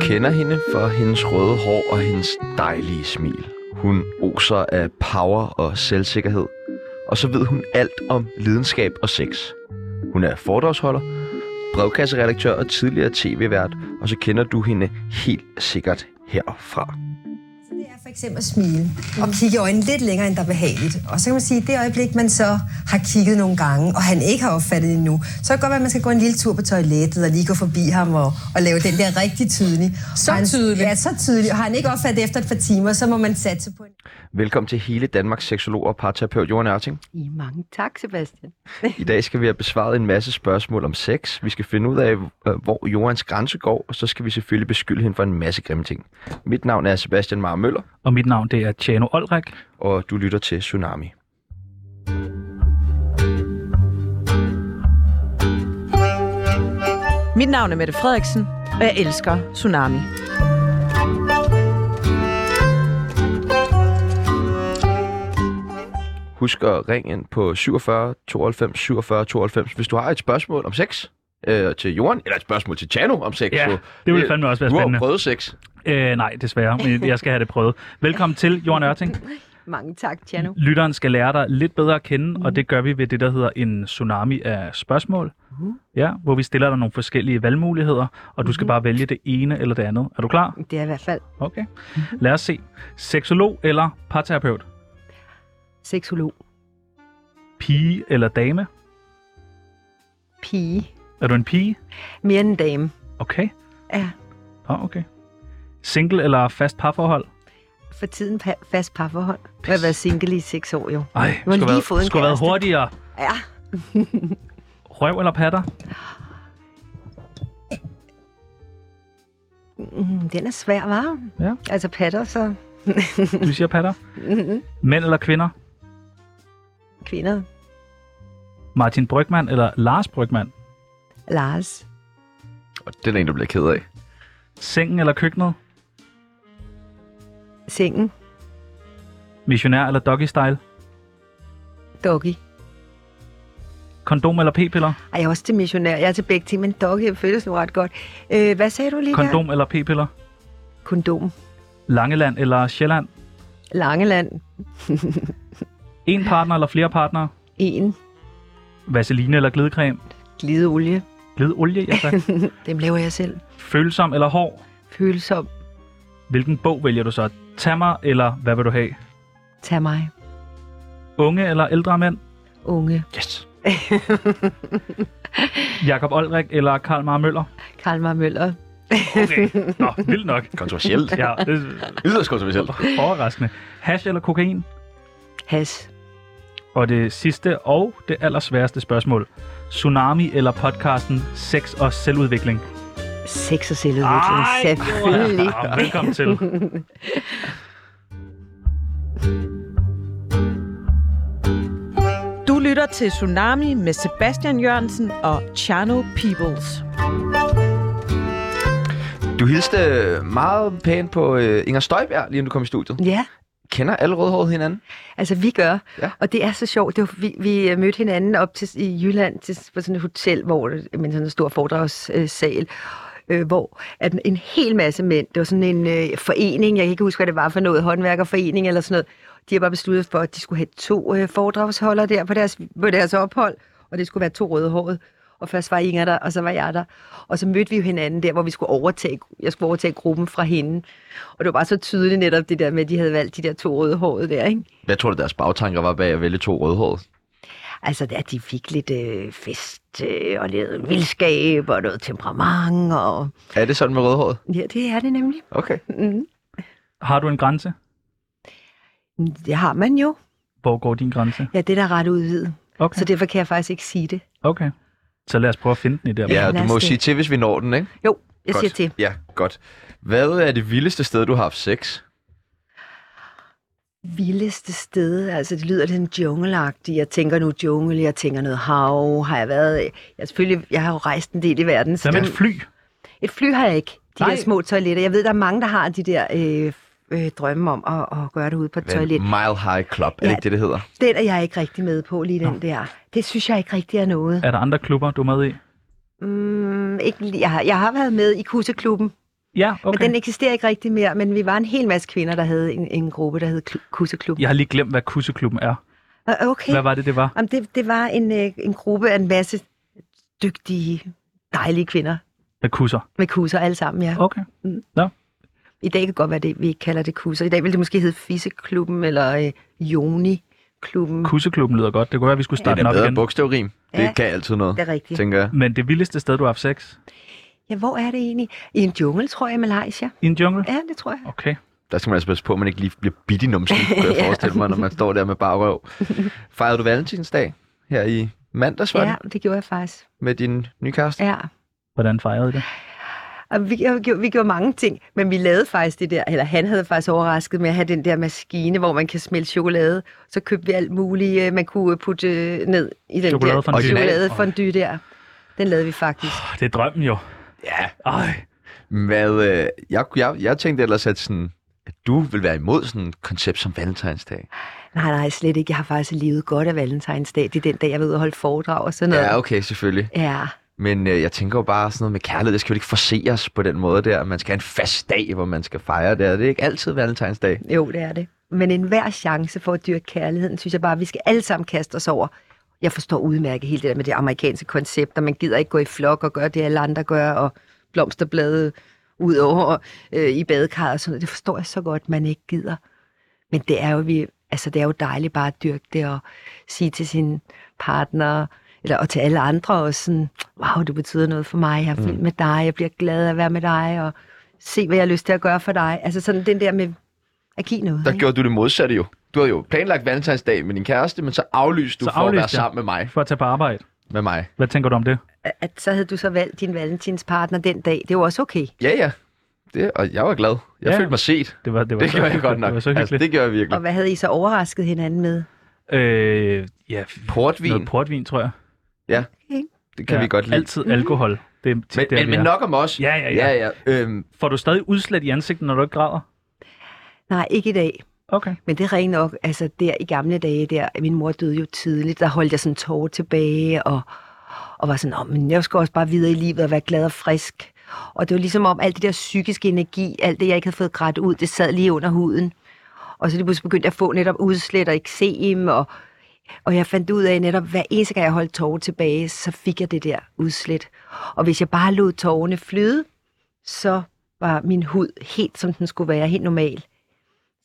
kender hende for hendes røde hår og hendes dejlige smil. Hun oser af power og selvsikkerhed, og så ved hun alt om lidenskab og sex. Hun er foredragsholder, brevkasseredaktør og tidligere tv-vært, og så kender du hende helt sikkert herfra. Det er for eksempel at smile Mm. og kigge i øjnene lidt længere, end der er behageligt. Og så kan man sige, at det øjeblik, man så har kigget nogle gange, og han ikke har opfattet det endnu, så kan det godt være, at man skal gå en lille tur på toilettet og lige gå forbi ham og, og lave den der rigtig tydelig. Så Og han, tydelig. Ja, så tydelig. Og har han ikke opfattet det efter et par timer, så må man satse på en Velkommen til hele Danmarks seksolog og parterapeut Johan Ørting. I mange tak, Sebastian. I dag skal vi have besvaret en masse spørgsmål om sex. Vi skal finde ud af, øh, hvor jordens grænse går, og så skal vi selvfølgelig beskylde hende for en masse grimme ting. Mit navn er Sebastian Mara Møller, Og mit navn det er Tjano Olrik. og du lytter til Tsunami. Mit navn er Mette Frederiksen, og jeg elsker Tsunami. Husk at ringe ind på 47 92 47 92, hvis du har et spørgsmål om sex øh, til Jorden, eller et spørgsmål til Chano om sex. Ja, Så det ville fandme også være Øh, Du har jo spændende. prøvet sex. Øh, nej, desværre, men jeg skal have det prøvet. Velkommen til, Jørgen Ørting. Mange tak, Tjano. Lytteren skal lære dig lidt bedre at kende, og det gør vi ved det, der hedder en tsunami af spørgsmål. Ja, hvor vi stiller dig nogle forskellige valgmuligheder, og du skal bare vælge det ene eller det andet. Er du Mm. klar? Det er i hvert fald Okay. Lad os se. Seksolog eller parterapeut? seksolog. Pige eller dame? Pige. Er du en pige? Mere end en dame. Okay. Ja, Ah, okay. Single eller fast parforhold? for tiden pa- fast parforhold. Jeg har været single i seks år jo. Ej, har skulle lige være, fået en skulle være kæreste. hurtigere. Ja, Røv eller patter? mm, den er svær, var. Ja. Altså patter, så Du siger patter. Mænd eller kvinder? kvinder. Martin Brygman eller Lars Brygman? Lars. Og det er en, du bliver ked af. Sengen eller køkkenet? Sengen. Missionær eller doggy style? Doggy. Kondom eller p-piller? Ej, jeg er også til missionær. Jeg er til begge ting, men doggy føles nu ret godt. Øh, hvad sagde du lige der? Kondom eller p-piller? Kondom. Langeland eller Sjælland? Langeland. En partner eller flere partnere? En. Vaseline eller glidecreme? Glideolie. Glideolie, ja tak. Dem laver jeg selv. Følsom eller hård? Følsom. Hvilken bog vælger du så? Tag mig, eller hvad vil du have? Tag mig. Unge eller ældre mænd? Unge. Yes. Jakob Olrik eller Karl Mar Møller? Kalmar Møller. Okay, nå, vildt nok. Kontroversielt. Ja, det Yderst kontroversielt. er overraskende. Hash eller kokain? Has. Og det sidste og det allersværeste spørgsmål. Tsunami eller podcasten Sex og Selvudvikling? Sex og selvudvikling, selvfølgelig. Ja, velkommen til. Du lytter til Tsunami med Sebastian Jørgensen og Chano Peoples. Du hilste øh, meget pænt på øh, Inger Støjberg, lige inden du kom i studiet. Ja, Kender alle rødhårede hinanden? altså vi gør. Ja. Ja. Og det er så sjovt. Det var, vi, vi øh, mødte hinanden op til, i Jylland til, på sådan et hotel, hvor der- med sådan en stor foredragssal. Øh, hvor at en hel masse mænd, det var sådan en øh, forening, jeg kan ikke huske, hvad det var for noget, håndværkerforening eller sådan noget, de har bare besluttet for, at de skulle have to øh, foredragsholdere der på deres, på deres ophold, og det skulle være to rødhårede. Og først var Inger der, og så var jeg der. Og så mødte vi jo hinanden der, hvor vi skulle overtage, jeg skulle overtage gruppen fra hende. Og det var bare så tydeligt netop det der med, at de havde valgt de der to rødhårede der, ikke? Hvad tror du, deres bagtanker var bag at vælge to rødhårede? Altså, at de fik lidt øh, fest øh, og lidt vildskab og noget temperament. Og... Er det sådan med rødhåret? Ja, det er det nemlig. Okay. Mm. Har du en grænse? Det har man jo. Hvor går din grænse? Ja, det er da ret udvidet. Okay, Så derfor kan jeg faktisk ikke sige det. okay. Så lad os prøve at finde den i der. Ja, Ja, du lad os må jo det. sige til, hvis vi når den, ikke? Jo, jeg siger til. Ja, godt. Hvad er det vildeste sted, du har haft sex? Vildeste sted, altså det lyder lidt en jungleagtigt. Jeg tænker nu jungle, jeg tænker noget hav. Har jeg været... Jeg, er selvfølgelig, jeg har jo rejst en del i verden. Så Hvad med et fly? Et fly har jeg ikke. De Nej. der små toiletter. Jeg ved, der er mange, der har de der øh, øh, drømme om at, at gøre det ude på et Hvad er toilet. det? Mile High Club, er det Ja. ikke det, det hedder? Den er jeg ikke rigtig med på, lige den der. Det synes jeg ikke rigtig er noget. Er der andre klubber, du er med i? Mm, ikke, lige- jeg, har, jeg har været med i Kuseklubben. Ja, Okay. Men okay. den eksisterer ikke rigtig mere, men vi var en hel masse kvinder, der havde en, en gruppe, der hed Klu- Kusseklubben. Jeg har lige glemt, hvad kusseklubben er. Ja. Okay. Hvad var det, det var? Jamen, det, det var en, øh, en gruppe af en masse dygtige, dejlige kvinder Med kusser. med kusser alle sammen, ja. Okay. I dag kan godt være det, vi ikke kalder det kusser. I dag ville det måske hedde Fisseklubben eller øh, Joni-klubben. Kusseklubben lyder godt. Det kunne være, at vi skulle Det er starte den da op bedre igen. bogstavrim. Ja. Det kan altid noget, Det er rigtigt. tænker jeg. Men det vildeste sted, du har haft sex? Ja, hvor er det egentlig? I en jungle, tror jeg, i Malaysia. I en jungle? Ja, det tror jeg. Okay. Der skal man altså passe på, at man ikke lige bliver bidt i numsen, kunne jeg Ja. forestille mig, når man står der med bare røv. Fejrede du valentinsdag her i mandags, var Ja, det, det gjorde jeg faktisk. med din nye kæreste? Ja. Hvordan fejrede I det? Og vi, øh, vi, gjorde, vi gjorde mange ting, men vi lavede faktisk det der, eller han havde faktisk overrasket med at have den der maskine, hvor man kan smelte chokolade. Så købte vi alt muligt, øh, man kunne øh, putte øh, ned i den Chokoladefondue. der Original. chokoladefondue der. Den lavede vi faktisk. Det er drømmen jo. Ja. Ej. Hvad, øh, jeg, jeg, jeg tænkte ellers, at, sådan, at du vil være imod sådan et koncept som valentinsdag. Nej, nej, slet ikke. Jeg har faktisk levet godt af valentinsdag. Det er den dag, jeg ved at holde foredrag og sådan noget. Ja, okay, selvfølgelig. ja. Men øh, jeg tænker jo bare sådan noget med kærlighed, det skal jo ikke forseres på den måde der. Man skal have en fast dag, hvor man skal fejre det, og det er ikke altid valentinsdag. Jo, det er det. Men enhver chance for at dyrke kærligheden, synes jeg bare, at vi skal alle sammen kaste os over. Jeg forstår udmærket hele det der med det amerikanske koncept, og man gider ikke gå i flok og gøre det, alle andre gør, og blomsterblade ud over øh, i badekarret og sådan noget. Det forstår jeg så godt, man ikke gider. Men det er jo, vi, altså, det er jo dejligt bare at dyrke det og sige til sin partner, eller, og til alle andre også sådan, wow, du betyder noget for mig, Mm. jeg er vild med dig, jeg bliver glad af at være med dig, og se, hvad jeg har lyst til at gøre for dig. Altså sådan den der med at give noget. Der Mm. ikke? gjorde du det modsatte jo. Du havde jo planlagt valentinsdag med din kæreste, men så aflyste du Så så for aflyste at være aflyste jeg. sammen med mig. For at tage på arbejde. Med mig. Hvad tænker du om det? at så havde du så valgt din valentinspartner den dag. Det var også okay. Ja, ja. Det, og jeg var glad. Jeg Ja. ja. følte mig set. Det, var, det, var Det så, gjorde jeg godt Det nok. var så hyggeligt. Altså, det gjorde jeg Og virkelig. hvad havde I så overrasket hinanden med? Øh, ja, f- Portvin, noget portvin, tror jeg. det kan ja. vi godt lide. Mhm. Altid alkohol. Det er tit Men, der, men, vi men er. nok om os. Ja, ja, ja. ja, ja. Øhm, Får du stadig udslæt i ansigtet, når du ikke græder? Nej, ikke i dag. Okay. Men det er rent nok, altså der i gamle dage, der, min mor døde jo tidligt, der holdt jeg sådan tårer tilbage, og, og var sådan, Åh, men jeg skal også bare videre i livet og være glad og frisk. Og det var ligesom om, alt det der psykiske energi, alt det, jeg ikke havde fået grædt ud, det sad lige under huden. Og så lige pludselig begyndte jeg at få netop udslæt og eksem, og, og jeg fandt ud af netop, hver eneste gang jeg holdt tårer tilbage, så fik jeg det der udslæt. Og hvis jeg bare lod tårerne flyde, så var min hud helt, som den skulle være, helt normal.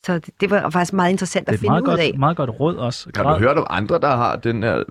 Så det, det var faktisk meget interessant Det at er et finde ud meget godt, af. meget godt råd også. Kan du Græd. høre om andre, der har den her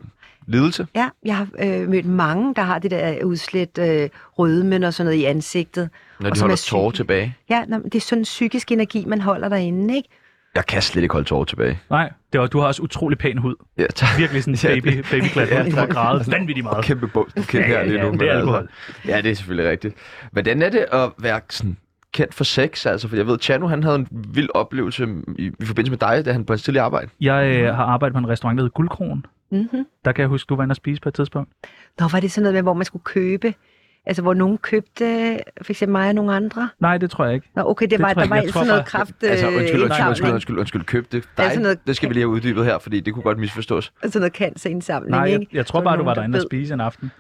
lidelse? Ja, jeg har øh, mødt mange, der har det der udslæt øh, rødmen og sådan noget i ansigtet. Når Og de som holder er syg. tårer tilbage. Ja, nå, men det er sådan en psykisk energi, man holder derinde, ikke? Jeg kan slet ikke holde tårer tilbage. Nej, det var, du har også utrolig pæn hud. Ja, tak. Virkelig sådan Ja, baby, det- babyklat. Ja, du har tak. grædet vanvittigt meget. Kæmpe bog. Kæmpe Ja, ja, her lige ja, nu. det er men altså. alkohol. ja, det er selvfølgelig rigtigt. Hvordan er det at være sådan kendt for sex? Altså, for jeg ved, Chano, han havde en vild oplevelse i, i forbindelse med dig, da han på en tidlig arbejde. Jeg øh, har arbejdet på en restaurant, der hedder Guldkronen. Mm-hmm. Der kan jeg huske, du var inde og spise på et tidspunkt. Nå, var det sådan noget med, hvor man skulle købe? Altså, hvor nogen købte, for eksempel mig og nogle andre? Nej, det tror jeg ikke. Nå, okay, det, Det var, tror jeg der var ikke. Jeg altid tror noget bare- kraft... Altså, øh, undskyld, undskyld, undskyld, indsamling. undskyld, undskyld, køb det. Altså Dig, noget- det skal vi lige have uddybet her, fordi det kunne godt misforstås. Altså noget cancerindsamling, Nej, ikke? jeg, jeg tror Så bare, du var nogen, derinde og ved. spise en aften.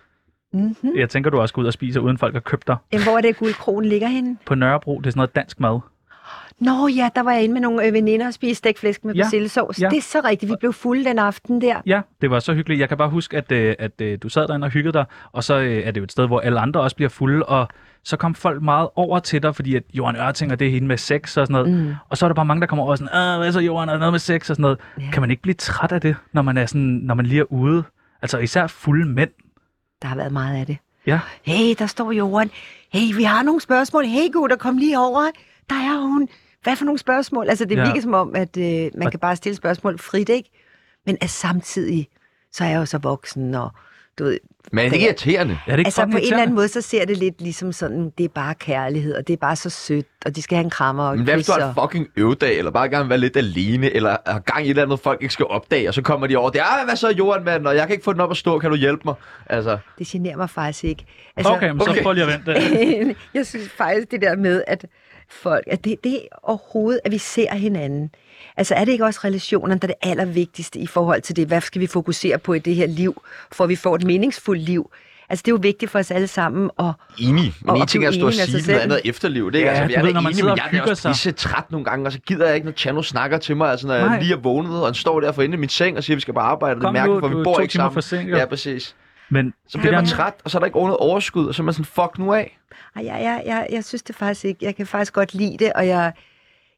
Mhm. Jeg tænker, du også skal ud og spise, uden folk har købt dig. Jamen, hvor er det, guldkronen ligger henne? På Nørrebro, det er sådan noget dansk mad. Nå ja, der var jeg inde med nogle øh, veninder og spiste stækflæsk med Ja, ja. persillesovs. ja. Ja. Det er så rigtigt, vi blev fulde den aften der. Ja, det var så hyggeligt. Jeg kan bare huske, at, øh, at øh, du sad derinde og hyggede dig, og så øh, er det jo et sted, hvor alle andre også bliver fulde, og så kom folk meget over til dig, fordi at Johan Ørting, og det er hende med sex og sådan noget. Mm. Og så er der bare mange, der kommer over og sådan, "Ah, hvad så Johan, er der noget med sex og sådan noget. Ja. Kan man ikke blive træt af det, når man, er sådan, når man lige er ude? Altså især fulde mænd. Der har været meget af det. Ja, Hey, der står Johan. Hey, vi har nogle spørgsmål. Hey, gutter, kom lige over. Der er hun. Hvad for nogle spørgsmål? Altså, det Ja. ja. virker som om, at øh, man Og- kan bare stille spørgsmål frit, ikke? Men at samtidig, så er jeg jo så voksen, og du ved... Men det er irriterende. er det ikke altså, på fucking en eller anden irriterende? måde, så ser det lidt ligesom sådan, det er bare kærlighed, og det er bare så sødt, og de skal have en krammer og Men et hvad hvis kys, du har en og... fucking øvedag, eller bare gerne være lidt alene, eller har gang i et eller andet, folk ikke skal opdage, og så kommer de over, det er, hvad så jorden, mand, og jeg kan ikke få den op at stå, kan du hjælpe mig? Altså, Det generer mig faktisk ikke. Altså, Okay, men så okay. prøv lige at vente. jeg synes faktisk det der med, at folk, at det, det er overhovedet, at vi ser hinanden. Altså er det ikke også relationerne, der er det allervigtigste i forhold til det, hvad skal vi fokusere på i det her liv, for at vi får et meningsfuldt liv? Altså, det er jo vigtigt for os alle sammen at Enig. Men Og- en og ting er at blive stå og enig sige med sig noget selv. andet er efterliv. Det, ikke? Ja, altså, du jeg er ved, da når man enig, sidder men og jeg er da hygger også sig. pisse træt nogle gange, og så gider jeg ikke, når Chano snakker til mig. Altså, når Nej. jeg lige er vågnet, og han står der for inde i mit seng og siger, at vi skal bare arbejde, og det Kom mærker, nu, for du vi er bor to ikke timer sammen. forsinket. Ja, præcis. Men Så det bliver der- man træt, og så er der ikke noget overskud, og så er man sådan, fuck nu af. Ej, jeg, jeg, jeg, jeg synes det faktisk ikke. Jeg kan faktisk godt lide det, og jeg,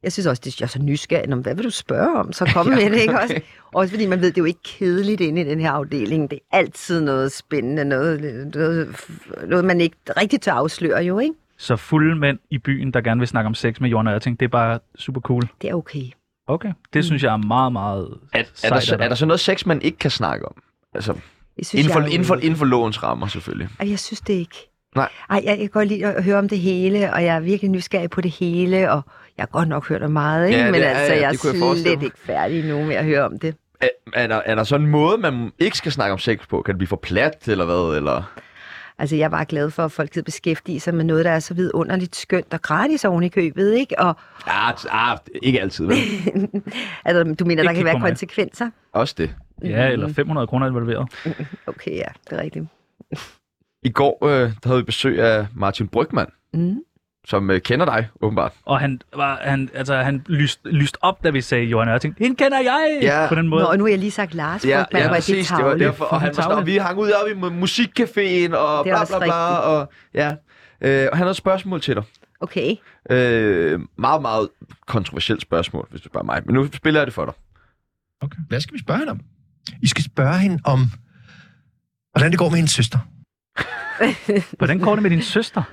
jeg synes også, det jeg er så nysgerrig. Nå, men hvad vil du spørge om? Så kom med det, ikke også? Også fordi man ved, det er jo ikke kedeligt inde i den her afdeling. Det er altid noget spændende, noget, noget, noget man ikke rigtig tør afsløre jo, ikke? så fulde mænd i byen, der gerne vil snakke om sex med Jørgen Ørting, det er bare super cool. Det er okay. Okay. Mm. Det synes jeg er meget, meget Er sejt. der, af så, dig. er der så noget sex, man ikke kan snakke om? Altså, Det synes inden for, jeg, er inden, for, okay. inden for lovens rammer, selvfølgelig. Ej, jeg synes det ikke. Nej. Ej, jeg jeg kan godt lide at høre om det hele, og jeg er virkelig nysgerrig på det hele, og jeg har godt nok hørt om meget, ikke? Ja, men det er altså, jeg. jeg Det kunne jeg er forestille slet mig. ikke færdig nu med at høre om det. Er, er, der, er der så en måde, man ikke skal snakke om sex på? Kan det blive for plat, eller hvad? Eller... Altså, jeg var glad for, at folk gider beskæftige sig med noget, der er så vidunderligt skønt og gratis oven i købet, ikke? Og Ah, t- ah, ikke altid, vel? altså, du mener, der Ikke kan kig på være mig. konsekvenser? Også det. Ja, eller 500 kroner involveret. Okay, ja, det er rigtigt. I går øh, der havde vi besøg af Martin Brygman, Mm. som øh, kender dig, åbenbart. Og han, var, han, altså, han lyst, lyst op, da vi sagde Jørgen Ørting. Hende kender jeg! Ja. På den måde. Nå, og nu har jeg lige sagt Lars, ja, ja, var det det var tavle. derfor. Og han var sådan, "Og vi hang ud op i mu- musikcaféen, og Det er bla også bla bla. Og, ja. øh, og han havde et spørgsmål til dig. Okay, Øh, meget, meget kontroversielt spørgsmål, hvis du spørger mig. Men nu spiller jeg det for dig. Hvad skal vi spørge hende om? I skal spørge hende om, hvordan det går med hendes søster. Hvordan går det med din søster?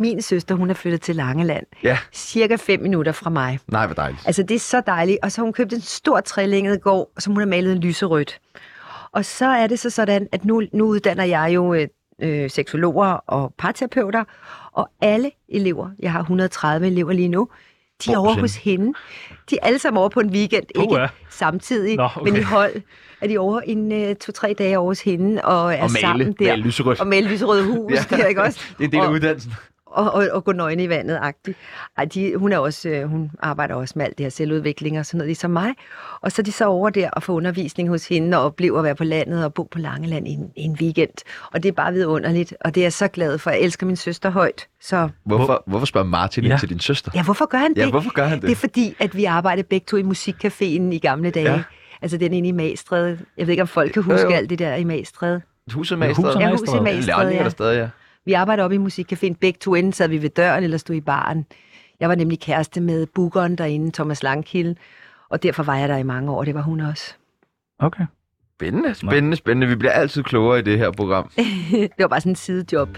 min søster, hun er flyttet til Langeland. Ja. Cirka fem minutter fra mig. Nej, hvor dejligt. Altså, det er så dejligt. Og så har hun købt en stor trælinget gård, som hun har malet en lyserødt. Og så er det så sådan, at nu, nu uddanner jeg jo øh, øh, seksologer og parterapeuter, og alle elever, jeg har 130 elever lige nu, de er Hvor over sind. hos hende. De er alle sammen over på en weekend, ikke Puha. samtidig, Nå, okay. men i hold er de over en øh, to-tre dage over hos hende og er Og male, sammen der. male lyserødt. Og male lyserøde hus, Ja. ja. der, ikke også? Det er en del af og, uddannelsen. og, og, og gå nøgen i vandet agtigt. Ej, de, hun, er også, øh, hun arbejder også med alt det her selvudvikling og sådan noget, ligesom mig. Og så er de så over der og får undervisning hos hende og oplever at være på landet og bo på Langeland i en, i en weekend. Og det er bare vidunderligt, og det er jeg så glad for. Jeg elsker min søster højt, så Hvorfor, hvorfor spørger Martin Ja. ja. til din søster? ja, hvorfor gør han det? Ja, hvorfor gør han det? Det er fordi, at vi arbejdede begge to i musikcaféen i gamle dage. Ja. Ja. Altså den inde i Magstræde. Jeg ved ikke, om folk kan huske Jo, jo, jo. jo. alt det der i Magstræde. Huset Ja, med huset Ja, huset i Magstræde. Magstræde, er ja. der stadig, ja. Vi arbejdede op i musikcaféen begge to, enten sad vi ved døren eller stod i baren. Jeg var nemlig kæreste med bookeren derinde, Thomas Langkilde, og derfor var jeg der i mange år, det var hun også. Okay. Spændende, spændende, spændende. Vi bliver altid klogere i det her program. det var bare sådan en sidejob.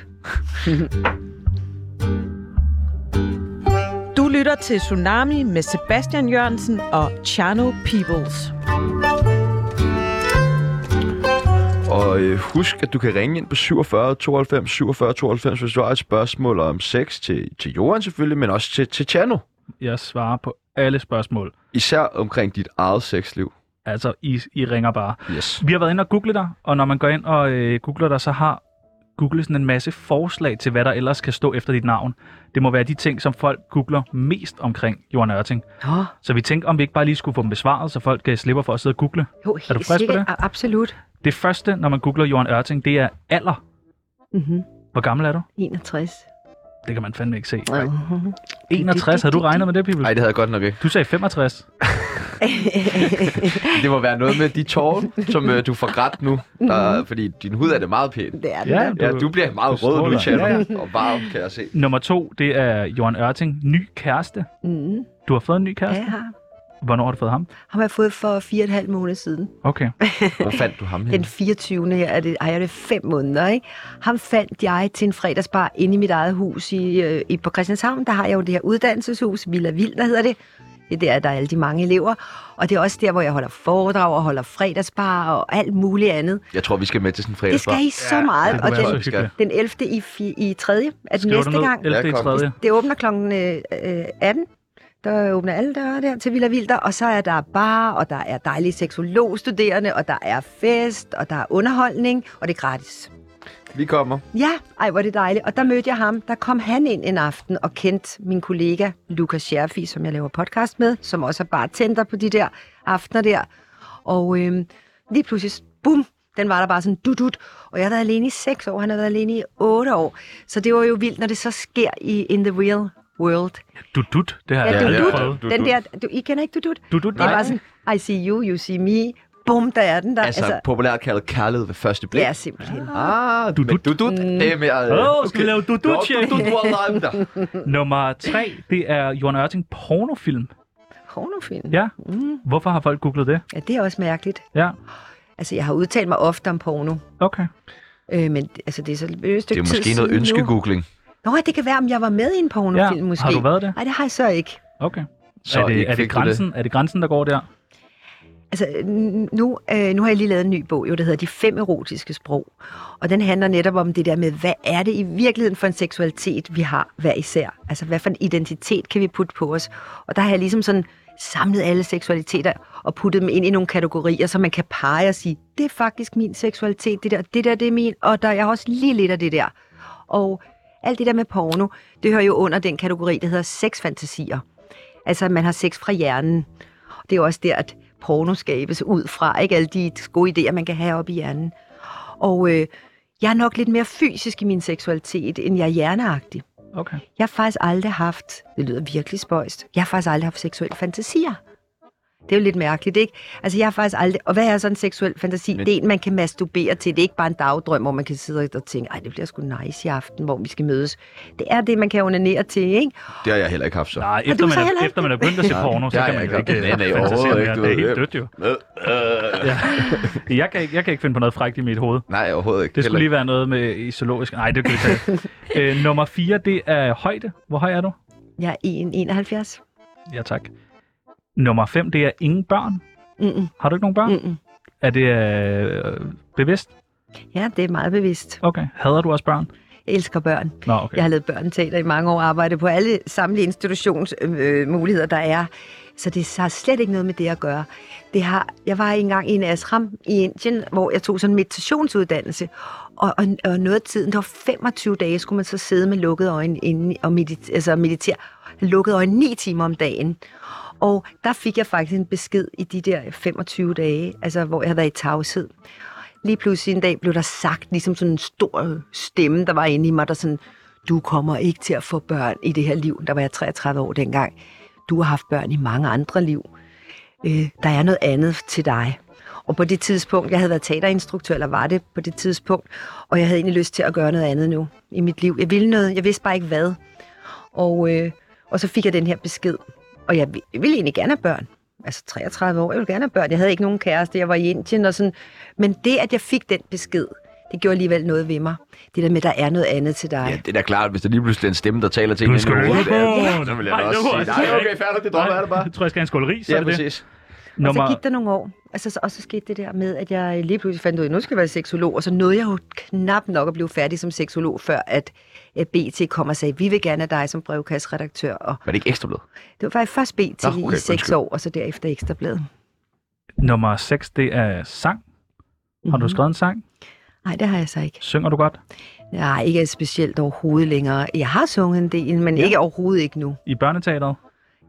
Du lytter til Tsunami med Sebastian Jørgensen og Chano Peoples. Og øh, husk, at du kan ringe ind på 47 92 47 92, hvis du har et spørgsmål om sex til, til Johan selvfølgelig, men også til, til Chano. Jeg svarer på alle spørgsmål. Især omkring dit eget sexliv. Altså, I, I ringer bare. Yes. Vi har været inde og google dig, og når man går ind og øh, googler dig, så har Google sådan en masse forslag til, hvad der ellers kan stå efter dit navn. Det må være de ting, som folk googler mest omkring Johan Ørting. Nå, Så vi tænkte, om vi ikke bare lige skulle få dem besvaret, så folk øh, slipper for at sidde og google. jo, helt Er du frisk på sikkert. det? A- Absolut. Det første, når man googler Johan Ørting, det er alder. Mm-hmm. Hvor gammel er du? 61. Det kan man fandme ikke se. Mhm. 61, havde du regnet med det, Pibel? Nej, det havde jeg godt nok ikke. Du sagde 65. Det må være noget med de tårer, som øh, du får grædt nu. Mhm. Der, fordi din hud er det meget pæn. Det er den Ja. der. Ja, du bliver meget Du rød nu, stråler. Chano. Ja, Og varm, kan jeg se. Nummer to, det er Johan Ørting. Ny kæreste. Mm-hmm. Du har fået en ny Ja, kæreste? jeg har. Hvornår har du fået ham? Ham har jeg fået for fire og et halvt måneder siden. Okay. Hvor fandt du Mm. ham Den henne? 24. her er det, ej, er det fem måneder, ikke? Ham fandt jeg til en fredagsbar inde i mit eget hus i, øh, i, på Christianshavn. Der har jeg jo det her uddannelseshus, Villa Vilder hedder det. Det er der, der er alle de mange elever. Og det er også der, hvor jeg holder foredrag og holder fredagsbar og alt muligt andet. Jeg tror, vi skal med til sådan en Det fredagsbar. skal I så meget. det Og kunne være den- så hyggeligt. den, den 11. i, fi- i 3. er den Skriver du næste ned? gang. 11. i Ja, kom. 3. Det åbner kl. 18. Der åbner alle døre der til Villa Vilder, og så er der bar, og der er dejlige seksologstuderende, og der er fest, og der er underholdning, og det er gratis. Vi kommer. Ja, ej, hvor er det dejligt. Og der mødte jeg ham. Der kom han ind en aften og kendte min kollega Lukas Scherfi, som jeg laver podcast med, som også er bartender på de der aftener der. Og øhm, lige pludselig, bum, Den var der bare sådan dudut. Og jeg har været alene i seks år, han har været alene i otte år. Så det var jo vildt, når det så sker i in the real world. Du dut, det her. Ja, ja, dudut. ja. Dudut. Den der, du, I kender ikke dudut? Du dut, Det er nej. bare sådan, I see you, you see me. Bum, der er den der. Altså, altså populært kaldet kærlighed ved første blik. ja, altså. Mm. simpelthen. Ah, du, du, du, du, det er mere... øh, Åh, skal vi lave du- du- Nå, check? du, du, wallah, men der. Nummer tre, det er Johan Ørting pornofilm. Pornofilm. Ja. Mm. Hvorfor har folk googlet det? ja, det er også mærkeligt. Ja, Altså, jeg har udtalt mig ofte om porno. okay. Øh, men altså, det er så et stykke Det er måske tid noget siden nu. ønskegoogling. Nå, det kan være, om jeg var med i en pornofilm Ja, måske. har du været det? Nej, det har jeg så ikke. Okay. Så er det, ikke er det fik du grænsen, er det grænsen, der går der? Altså, n- nu, øh, nu har jeg lige lavet en ny bog, jo, der hedder De fem erotiske sprog. Og den handler netop om det der med, hvad er det i virkeligheden for en seksualitet, vi har hver især? Altså, hvad for en identitet kan vi putte på os? Og der har jeg ligesom sådan samlet alle seksualiteter og puttet dem ind i nogle kategorier, så man kan pege og sige, det er faktisk min seksualitet, det der, det der, det er min, og der jeg har også lige lidt af det der. Og alt det der med porno, det hører jo under den kategori, der hedder sexfantasier. Altså, at man har sex fra hjernen. Det er jo også der, at porno skabes ud fra, ikke alle de gode idéer, man kan have op i hjernen. Og øh, jeg er nok lidt mere fysisk i min seksualitet, end jeg er hjerneagtig. Okay. Jeg har faktisk aldrig haft, det lyder virkelig spøjst, jeg har faktisk aldrig haft seksuelle fantasier. Det er jo lidt mærkeligt, ikke? Altså, jeg har faktisk aldrig... Og hvad er så en seksuel fantasi? Men... Det er en, man kan masturbere til. Det er ikke bare en dagdrøm, hvor man kan sidde og tænke, ej, det bliver sgu nice i aften, hvor vi skal mødes. Det er det, man kan onanere til, ikke? Det har jeg heller ikke haft, så. Nej, Og du efter er man, så er, heller efter man er begyndt at se Nej, porno, så det har kan jeg man jo ikke. ikke Nej, nej, øh, overhovedet fantasere ikke, mere. du Det er ved. helt dødt jo. Øh, øh. Jeg kan, ikke, jeg kan ikke finde på noget frækt i mit hoved. Nej, overhovedet ikke. Det Heller skulle ikke. lige være noget med i zoologisk. Nej, det kan vi tage. Æ, nummer 4, det er højde. Hvor høj er du? Jeg er 1,71. Ja, tak. Nummer 5, det er ingen børn. Mm-mm, Har du ikke nogen børn? Mm. mm-mm. Er det øh, bevidst? Ja, det er meget bevidst. Okay. Hader du også børn? Jeg elsker børn. Nå, okay. Jeg har lavet børneteater i mange år, arbejdet på alle samlede institutionsmuligheder, øh, muligheder, der er. Så det har slet ikke noget med det at gøre. Det har, jeg var engang i en ashram i Indien, hvor jeg tog sådan en meditationsuddannelse. Og, og, og noget af tiden, det var 25 dage, skulle man så sidde med lukkede øjne inde og medit, altså meditere. Lukkede øjne 9 timer om dagen. Og der fik jeg faktisk en besked i de der 25 dage, altså hvor jeg havde været i tavshed. Lige pludselig en dag blev der sagt, ligesom sådan en stor stemme, der var inde i mig, der sådan, du kommer ikke til at få børn i det her liv. Der var jeg 33 år dengang. Du har haft børn i mange andre liv. Øh, der er noget andet til dig. Og på det tidspunkt, jeg havde været teaterinstruktør, eller var det på det tidspunkt, og jeg havde egentlig lyst til at gøre noget andet nu i mit liv. Jeg ville noget, jeg vidste bare ikke hvad. Og, øh, og så fik jeg den her besked. Og jeg vi- jeg ville egentlig gerne have børn. Altså 33 år, jeg ville gerne have børn. Jeg havde ikke nogen kæreste, jeg var i Indien og sådan. Men det, at jeg fik den besked, det gjorde alligevel noget ved mig. Det der med, der er noget andet til dig. Ja, det er da klart, hvis der lige pludselig er en stemme, der taler til Du en skal inde i jo hovedet, ikke ja, bo. Så vil jeg Nej, da det også var sige, altså nej, ikke. okay, færdigt, det dropper jeg da bare. Jeg tror, jeg skal have en skål ris, så Ja, er det det. præcis. Og så Nummer... gik der nogle år, og så, og så skete det der med, at jeg lige pludselig fandt ud af, at nu skal jeg være seksolog, og så nåede jeg jo knap nok at blive færdig som seksolog, før at øh, BT kom og sagde, vi vil gerne have dig som brevkasseredaktør. Og Var det ikke ekstra blød? det var faktisk først BT Nå, Nå, okay, okay, i seks undskyld. år, og så derefter Ekstrabladet. Nummer 6, det er sang. Har du skrevet en sang? Mhm. Nej, det har jeg så ikke. Synger du godt? Nej, ikke specielt overhovedet længere. Jeg har sunget en del, men ja. ikke overhovedet ikke nu. I børneteateret?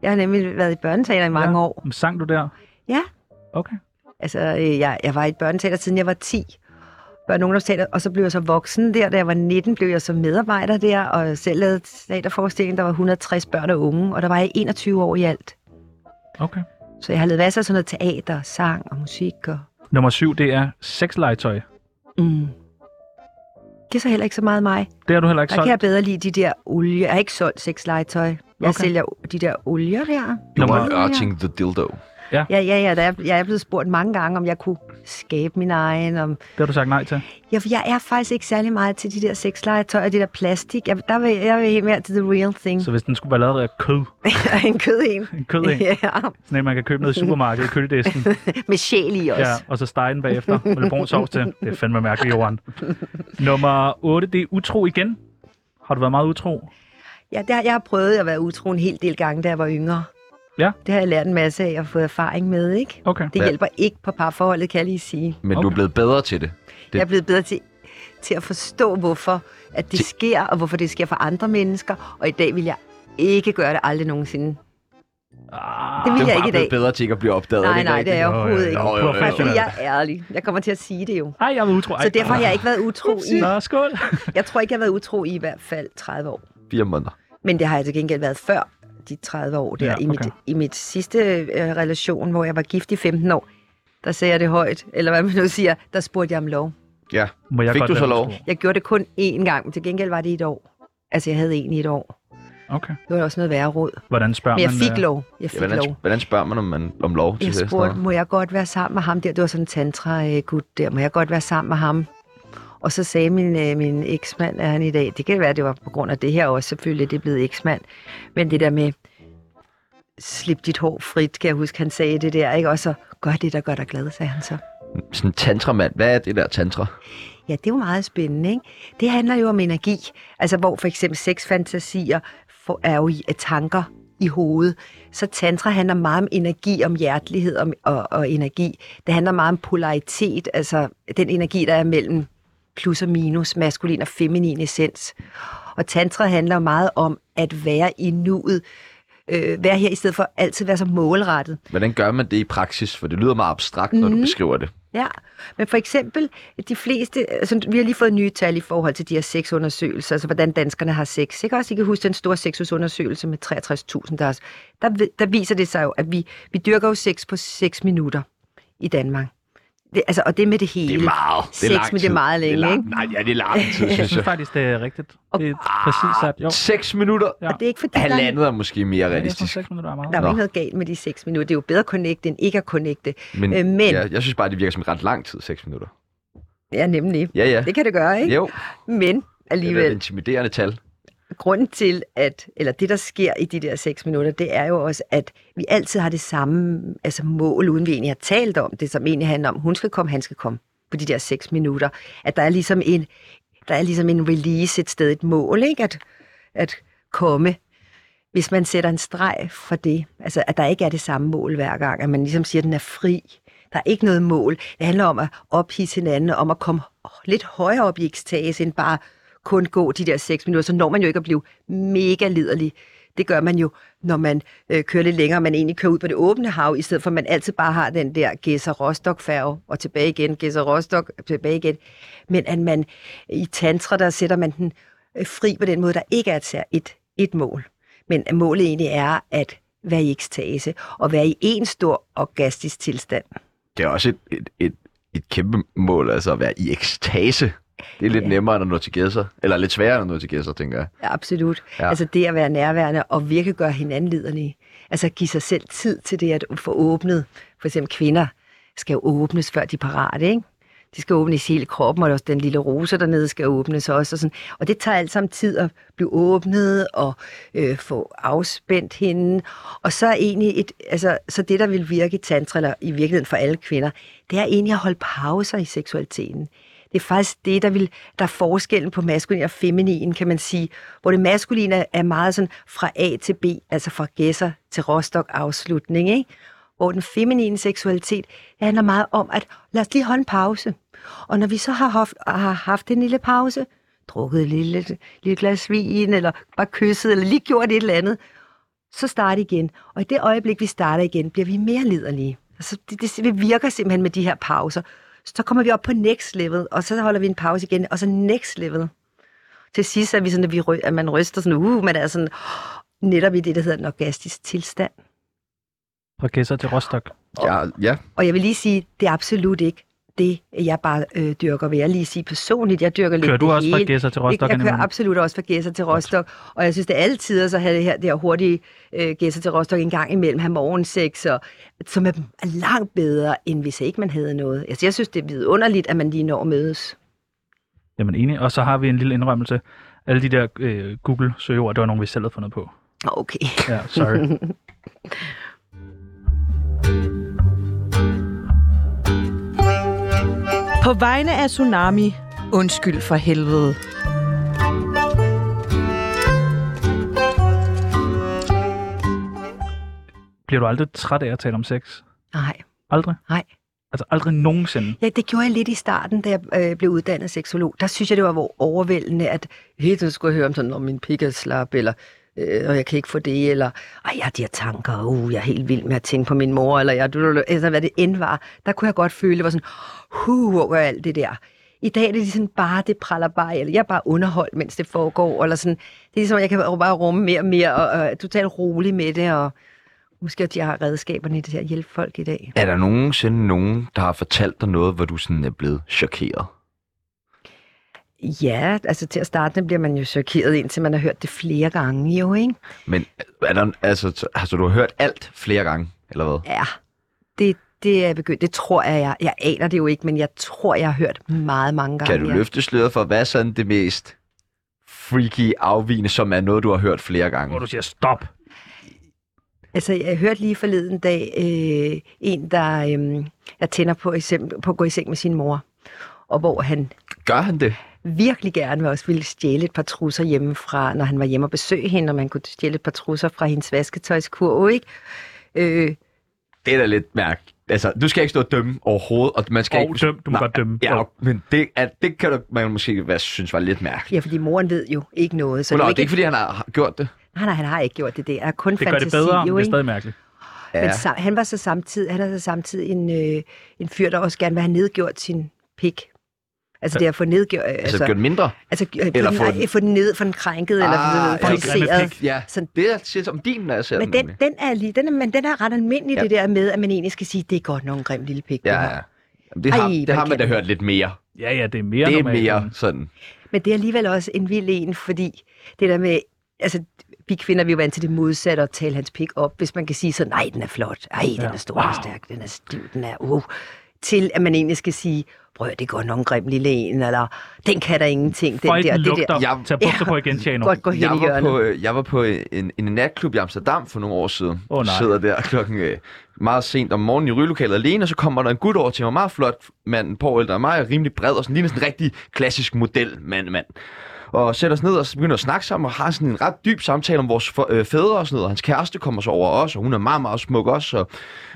Jeg har nemlig været i børneteater i mange Ja. ja. år. Men Sang du der? Ja, Okay. Altså, øh, jeg, jeg var i et børneteater, siden jeg var 10. Børne- og ungdomsteater, og så blev jeg så voksen der. Da jeg var 19, blev jeg så medarbejder der, og selv lavede teaterforestilling, der var 160 børn og unge, og der var jeg 21 år i alt. Okay. Så jeg har lavet masser af sådan noget teater, sang og musik. Og, Nummer 7, det er sexlegetøj. mm. Det er så heller ikke så meget mig. Det har du heller ikke Der kan jeg solgt. bedre lide de der olie. Jeg har ikke solgt sexlegetøj. Jeg Okay. okay. sælger de der olier der. Nummer, Johan Ørting the Dildo. Ja, ja, ja. Der er, jeg er blevet spurgt mange gange, om jeg kunne skabe min egen, om det har du sagt nej til. Ja, for jeg er faktisk ikke særlig meget til de der sexlegetøj og det der plastik. Jeg, der vil, jeg vil helt mere til the real thing. Så hvis den skulle være lavet af kød, en kød en. en kød en, Ja, sådan en, man kan købe ned i supermarkedet i køledisken, med sjæl i også. ja, og så stege den bagefter med lidt brun sovs til. Det er fandme mærkeligt, Johan. Nummer 8, det er utro igen. Har du været meget utro? Ja, der, jeg har prøvet at være utro en hel del gange, da jeg var yngre. Ja. Det har jeg lært en masse af og fået erfaring med, ikke? Okay. Det Ja. hjælper ikke på parforholdet, kan jeg lige sige. Men du er Okay. blevet bedre til det. Jeg er blevet bedre til, til at forstå, hvorfor at det sker, og hvorfor det sker for andre mennesker. Og i dag vil jeg ikke gøre det aldrig nogensinde. Ah, Det Det vil er jeg jo ikke bare i blevet dag. bedre til ikke at blive opdaget. Nej, ikke nej, det rigtigt? er jeg overhovedet ikke. Nå, jo, jo, jo. Nej, fordi Professionel. jeg er ærlig. Jeg kommer til at sige det jo. Øh, Ej, jeg var utro. Ej, Så derfor har jeg ikke været utro i... Nå, skål. Jeg tror ikke, jeg har været utro i i hvert fald 30 år. Fire måneder. Men det har jeg til gengæld været før de 30 år der. Ja, Ja, okay. I, mit, okay. I mit sidste øh, relation, hvor jeg var gift i 15 år, der sagde jeg det højt, eller hvad man nu siger, der spurgte jeg om lov. Ja. Må jeg Fik godt du så være lov? utro? Jeg gjorde det kun én gang, men til gengæld var det i et år. Altså, jeg havde en i et år. Okay. Det var også noget værre råd. Hvordan spørger Men jeg man? fik øh, lov. Jeg Ja, fik hvordan, lov. hvordan spørger man om, man, om lov til Jeg det? spurgte, må jeg godt være sammen med ham der? Det var sådan en tantra-gut der. Må jeg godt være sammen med ham? Og så sagde min, øh, min eksmand, er han i dag, det kan være, det var på grund af det her også, selvfølgelig, det er blevet eksmand. Men det der med, slip dit hår frit, kan jeg huske, han sagde det der, ikke? Og så, gør det, der gør dig glad, sagde han så. Sådan en tantramand. Hvad er det der tantra? Ja, det er jo meget spændende, ikke? Det handler jo om energi. Altså, hvor for eksempel sexfantasier for- er jo i er tanker i hovedet. Så tantra handler meget om energi, om hjertelighed om, og, og energi. Det handler meget om polaritet, altså den energi, der er mellem plus og minus, maskulin og feminin essens. Og tantra handler meget om at være i nuet, øh, være her i stedet for altid at være så målrettet. Hvordan gør man det i praksis? For det lyder meget abstrakt, når du Mhm. beskriver det. Ja, men for eksempel de fleste, altså, vi har lige fået nye tal i forhold til de her sexundersøgelser, altså hvordan danskerne har sex. Ikke også, I kan huske den store sexusundersøgelse med 63.000, der, også, der, vi- der viser det sig jo, at vi, vi dyrker jo sex på 6 minutter i Danmark. Det, altså, og det er med det hele. Det er meget. Det er Sex, lang men det er tid. meget længe, det er lang, ikke? Nej, ja, det er lang tid, Jeg synes synes jeg. faktisk, det er rigtigt. Det er præcis sat. Jo, 6 minutter. Ja. Og det er ikke fordi, der, er, Halvandet er måske mere jeg tror, realistisk. seks minutter er meget. der er jo Nå. ikke noget galt med de 6 minutter. Det er jo bedre at connecte, end ikke at connecte. Men, Øh, men- Ja, jeg synes bare, det virker som ret lang tid, 6 minutter. Ja, nemlig. Ja, ja. Det kan det gøre, ikke? Jo, Men det er et alligevel. intimiderende tal. grunden til, at, eller det, der sker i de der seks minutter, det er jo også, at vi altid har det samme altså mål, uden vi egentlig har talt om det, som egentlig handler om, hun skal komme, han skal komme på de der seks minutter. At der er ligesom en, der er ligesom en release et sted, et mål, ikke? At, at komme, hvis man sætter en streg for det. Altså, at der ikke er det samme mål hver gang, at man ligesom siger, at den er fri. Der er ikke noget mål. Det handler om at ophisse hinanden, om at komme lidt højere op i ekstase, end bare kun gå de der 6 minutter. Så når man jo ikke at blive mega liderlig. Det gør man jo, når man øh, kører lidt længere, man egentlig kører ud på det åbne hav, i stedet for at man altid bare har den der gæsser rostock færge og tilbage igen, gæsser rostock tilbage igen. Men at man i tantra, der sætter man den øh, fri på den måde, der ikke er et, sær- et, et mål. Men at målet egentlig er at være i ekstase og være i en stor orgastisk tilstand. Det er også et, et, et, et kæmpe mål, altså at være i ekstase. Det er lidt Ja. nemmere end at nå til gæsser. Eller lidt sværere end at nå til gæsser, tænker jeg. Ja, absolut. Ja. Ja. Altså det at være nærværende og virkelig gøre hinanden liderlige. Altså give sig selv tid til det at få åbnet. For eksempel kvinder skal jo åbnes, før de er parate, ikke? De skal åbnes i hele kroppen, og også den lille rose dernede skal åbnes også. Og, sådan. og det tager alt sammen tid at blive åbnet og øh, få afspændt hende. Og så er egentlig et, altså, så det, der vil virke i tantra, eller i virkeligheden for alle kvinder, det er egentlig at holde pauser i seksualiteten. Det er faktisk det, der, vil, der er forskellen på maskulin og feminin, kan man sige. Hvor det maskuline er- er meget sådan fra A til B, altså fra gæsser til rostok afslutning, ikke? Hvor den feminine seksualitet det handler meget om, at lad os lige holde en pause. Og når vi så har haft, har haft en lille pause, drukket et lille, lille glas vin, eller bare kysset, eller lige gjort et eller andet, så start igen. Og i det øjeblik, vi starter igen, bliver vi mere liderlige. Altså, det, det, det virker simpelthen med de her pauser. Så kommer vi op på next level, og så holder vi en pause igen, og så next level. Til sidst er vi sådan, at, vi, ry- at man ryster sådan, uh, man er sådan netop i det, der hedder en orgastisk tilstand. Fra Gæsser til Rostock. Ja, ja. Og jeg vil lige sige, det er absolut ikke det, jeg bare øh, dyrker, vil jeg lige sige personligt. Jeg dyrker lidt Kører du det også fra hele. Gedser til Rostock Jeg, jeg kører indimellem? absolut også fra Gæsser til Rostock. Og jeg synes, det er altid at så have det her, det her hurtige øh, Gæsser til Rostock en gang imellem, have morgensex, og, som er er langt bedre, end hvis ikke man havde noget. Altså, jeg synes, det er vidunderligt, at man lige når at mødes. Jamen enig. Og så har vi en lille indrømmelse. Alle de der øh, Google-søgeord, det var nogle, vi selv havde fundet på. Nå, Okay. Ja, sorry. På vegne af Tsunami, undskyld for helvede. Bliver du aldrig træt af at tale om sex? Nej, Aldrig? nej. Altså aldrig nogensinde? Ja, det gjorde jeg lidt i starten, da jeg øh, blev uddannet seksolog. Der synes jeg, det var hvor overvældende, at hele tiden skulle jeg høre om sådan, om min pik er slap, eller øh, og jeg kan ikke få det, eller ej, jeg har de her tanker, uh, jeg er helt vild med at tænke på min mor, eller jeg, altså, hvad det end var, der kunne jeg godt føle, det var sådan, huh, over alt det der. I dag er det sådan bare, det praller bare, eller jeg er bare underholdt, mens det foregår, eller sådan, det er ligesom, jeg kan bare rumme mere og mere, og, og er totalt rolig med det, og måske at jeg har redskaberne til at hjælpe folk i dag. Er der nogensinde nogen, der har fortalt dig noget, hvor du sådan er blevet chokeret? Ja, altså til at starte med bliver man jo chokeret, indtil man har hørt det flere gange jo, ikke? Men er der, altså, altså, du har hørt alt flere gange, eller hvad? Ja, det, det er begyndt. Det tror jeg, jeg, jeg aner det jo ikke, men jeg tror, jeg har hørt meget mange gange. Kan du ja. løfte sløret for, hvad er sådan det mest freaky afvigende, som er noget, du har hørt flere Hvor du gange? siger stop. Altså, jeg hørte lige forleden dag øh, en, der, øh, der tænder på, eksempel, på at gå i seng med sin mor. Og hvor han Gør han det? virkelig gerne også ville stjæle et par trusser hjemmefra, når han var hjemme og besøge hende, og man kunne stjæle et par trusser fra hendes vasketøjskurv, ikke? Øh, Det er da lidt mærk. Altså, du skal ikke stå og dømme overhovedet, og man skal Og ikke... døm, du må Nej, godt dømme. Ja, Og- og- men det, er, det kan du, man måske hvad, synes var lidt mærkeligt. ja, fordi moren ved jo ikke noget. Så Nå, jo det er ikke, fordi han har har gjort det. Altså, Ah, Nej, nej, han har ikke gjort det. Det er kun Det gør fantasi, det bedre, men jo, det er ikke? stadig mærkeligt. Men sam, han var så samtidig, han er så samtidig en, øh, en fyr, der også gerne vil have nedgjort sin pik. Altså det at få nedgjort... Øh, altså, gør det mindre. altså øh, eller få, få den, den- nej, få den ned, få den krænket, ah, eller Ah, få ja. den Pik er med fixeret. pik. Ja, Sådan- det er siger som din, når jeg ser den. Men den, nemlig. den, er lige, den, er, men den er ret almindelig, Ja. ja. det der med, at man egentlig skal sige, det er godt nok en grim lille pik. det Ja, her. ja. Jamen, det har, Ej, Ej, det hvor har man kan da den. hørt lidt mere. Ja, ja, det er mere Det er normalt. mere end- sådan... Men det er alligevel også en vild en, fordi det der med, altså vi kvinder, vi er jo vant til det modsatte, at tale hans pik op, hvis man kan sige sådan, nej, den er flot, ej, den Ja. er stor, wow. Wow. og stærk, den er stiv, den er, uh, til at man egentlig skal sige, prøv at det går nok en grim lille en, eller den kan der ingenting, den Føj, der, den det der, lugter. Jeg- Tag bukser på igen, Tjano. godt gå hen i jeg var, hjørnet. på, øh, jeg var på øh, en, en natklub i Amsterdam for nogle år siden. Åh, nej. Sidder der klokken øh, meget sent om morgenen i rygelokalet alene, og så kommer der en gut over til mig, meget flot mand, på ældre end mig, og rimelig bred, og sådan ligner sådan en rigtig klassisk model mand, mand. Og sætter os ned og så begynder at snakke sammen, og har sådan en ret dyb samtale om vores for, øh, fædre og sådan noget. Og hans kæreste kommer så over os, og hun er meget, meget smuk også. Og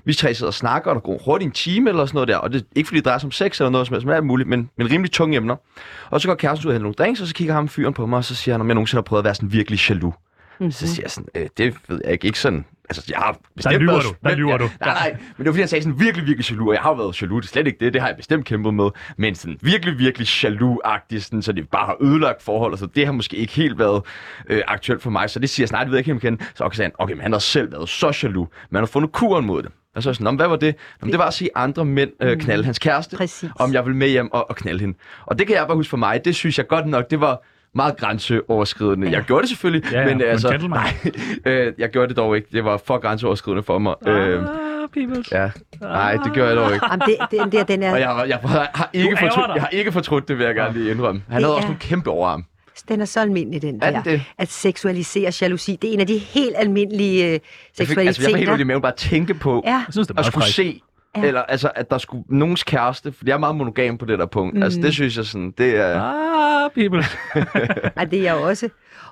vi tre sidder og snakker, og der går hurtigt en time eller sådan noget der. Og det er ikke fordi, det drejer sig om sex eller noget som helst, men alt muligt, men, men rimelig tunge emner. Og så går kæresten ud og henter nogle drinks, og så kigger ham fyren på mig, og så siger han, om jeg nogensinde har prøvet at være sådan virkelig jaloux. Mm-hmm. Så siger jeg sådan, øh, det ved jeg ikke, ikke sådan... Altså, jeg har bestemt lyver været- du, der lyver du. Nej, nej, men det var fordi, han sagde sådan virkelig, virkelig jaloux, og jeg har jo været jaloux, det er slet ikke det, det har jeg bestemt kæmpet med, men sådan virkelig, virkelig jaloux-agtigt, sådan, så det bare har ødelagt forhold, så det har måske ikke helt været øh, aktuelt for mig, så det siger jeg sådan, nej, det ved jeg ikke, om jeg kan. Så okay, sagde han, okay, men han har selv været så jaloux, man har fundet kuren mod det. Og så er jeg sådan, "Nå, men hvad var det? Nå, men det var at se andre mænd Mm. øh, knalde hans kæreste, Præcis. om jeg ville med hjem og, og knalde hende. Og det kan jeg bare huske for mig, det synes jeg godt nok, det var meget grænseoverskridende. Jeg gjorde det selvfølgelig, Ja, ja, men men altså, gentleman. nej, øh, jeg gjorde det dog ikke. Det var for grænseoverskridende for mig. Øh, Ah, peoples. Ja. Nej, det gør jeg dog ikke. Jamen, det, den der, den øh, Og er, jeg, har- jeg, har- har, ikke Du ærger fortrudt, dig. jeg har ikke fortrudt det, vil jeg gerne lige indrømme. Han Det havde også er- en kæmpe overarm. den er så almindelig, den Er der, den det? at seksualisere jalousi, det er en af de helt almindelige øh, Jeg fik, altså, jeg var helt ude i seksualiteter. maven bare at tænke på, Ja, Jeg synes, det er at meget skulle frækt. se, eller altså, at der skulle nogens kæreste, for jeg er meget monogam på det der punkt. Mm. Altså, det synes jeg sådan, det er... Ah, peoples. Ej, det er jeg også.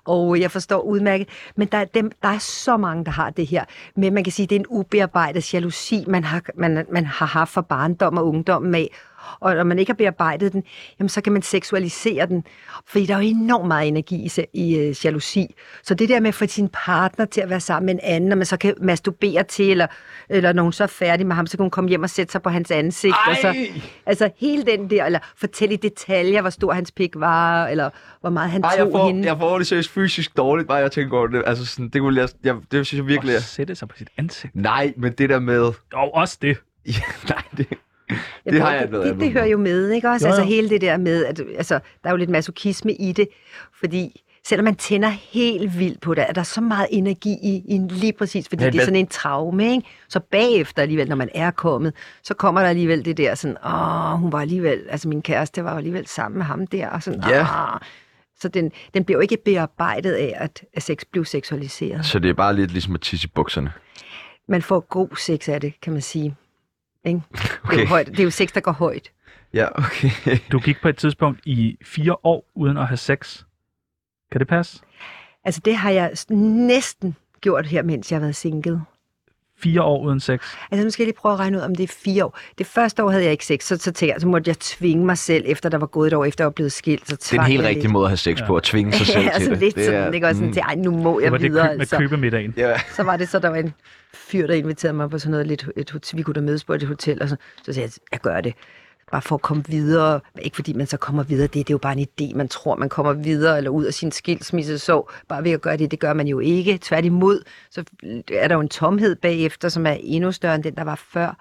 Og jeg forstår udmærket. Men der er, dem, der er så mange, der har det her. Men man kan sige, det er en ubearbejdet jalousi, man har, man, man har haft fra barndom og ungdommen af. Og når man ikke har bearbejdet den, jamen så kan man seksualisere den. Fordi der er jo enormt meget energi i, se- i øh, jalousi. Så det der med at få sin partner til at være sammen med en anden, og man så kan masturbere til, eller, eller når hun så er færdig med ham, så kan hun komme hjem og sætte sig på hans ansigt. Og så, Ej! altså hele den der, eller fortælle i detaljer, hvor stor hans pik var, eller hvor meget han Ej, tog jeg får, hende. jeg får det seriøst fysisk dårligt, bare jeg tænker over det. Altså, sådan, det, kunne jeg, jeg, det synes jeg virkelig Og er... sætte sig på sit ansigt. Nej, men det der med... Og også det. Ja, nej, det, Jeg det tror, har jeg det, været det, ærgerlig det hører jo med, ikke også? Jo, Jo, jo. jo. Altså hele det der med, at altså, der er jo lidt masochisme i det, fordi selvom man tænder helt vildt på det, er der så meget energi i, i en- lige præcis, fordi Men Men, det er hvad- sådan en traume, ikke? Så bagefter alligevel, når man er kommet, så kommer der alligevel det der sådan, åh, hun var alligevel, altså min kæreste var jo alligevel sammen med ham der, og sådan, Ja. åh. Så den, den bliver jo ikke bearbejdet af, at at sex blev seksualiseret. Så det er bare lidt ligesom at tisse i bukserne. Man får god sex af det, kan man sige. Ikke? Det, er Okay. jo højt. det er jo sex, der går højt. Ja, okay. Du gik på et tidspunkt i fire år uden at have sex. Kan det passe? Altså, det har jeg s- næsten gjort her, mens jeg har været single. fire år uden sex? Altså nu skal jeg lige prøve at regne ud, om det er fire år. Det første år havde jeg ikke sex, så, så, tænkte jeg, så måtte jeg tvinge mig selv, efter der var gået et år efter, jeg var blevet skilt. Så Det er en helt rigtig måde at have sex på, at tvinge sig selv Ja, til altså det. lidt det Mm. sådan, ikke? Også sådan, til, ej, nu må Det jeg var det videre. køb, med altså. købemiddagen. Ja, Så var det så, der var en fyr, der inviterede mig på sådan noget, lidt, et, hotel, vi kunne da mødes på et hotel, og så, så sagde jeg, jeg gør det. Bare for at komme videre. Ikke fordi man så kommer videre, det, det er jo bare en idé, man tror, man kommer videre, eller ud af sin skilsmisse, så bare ved at gøre det, det gør man jo ikke. Tværtimod, så er der jo en tomhed bagefter, som er endnu større end den, der var før.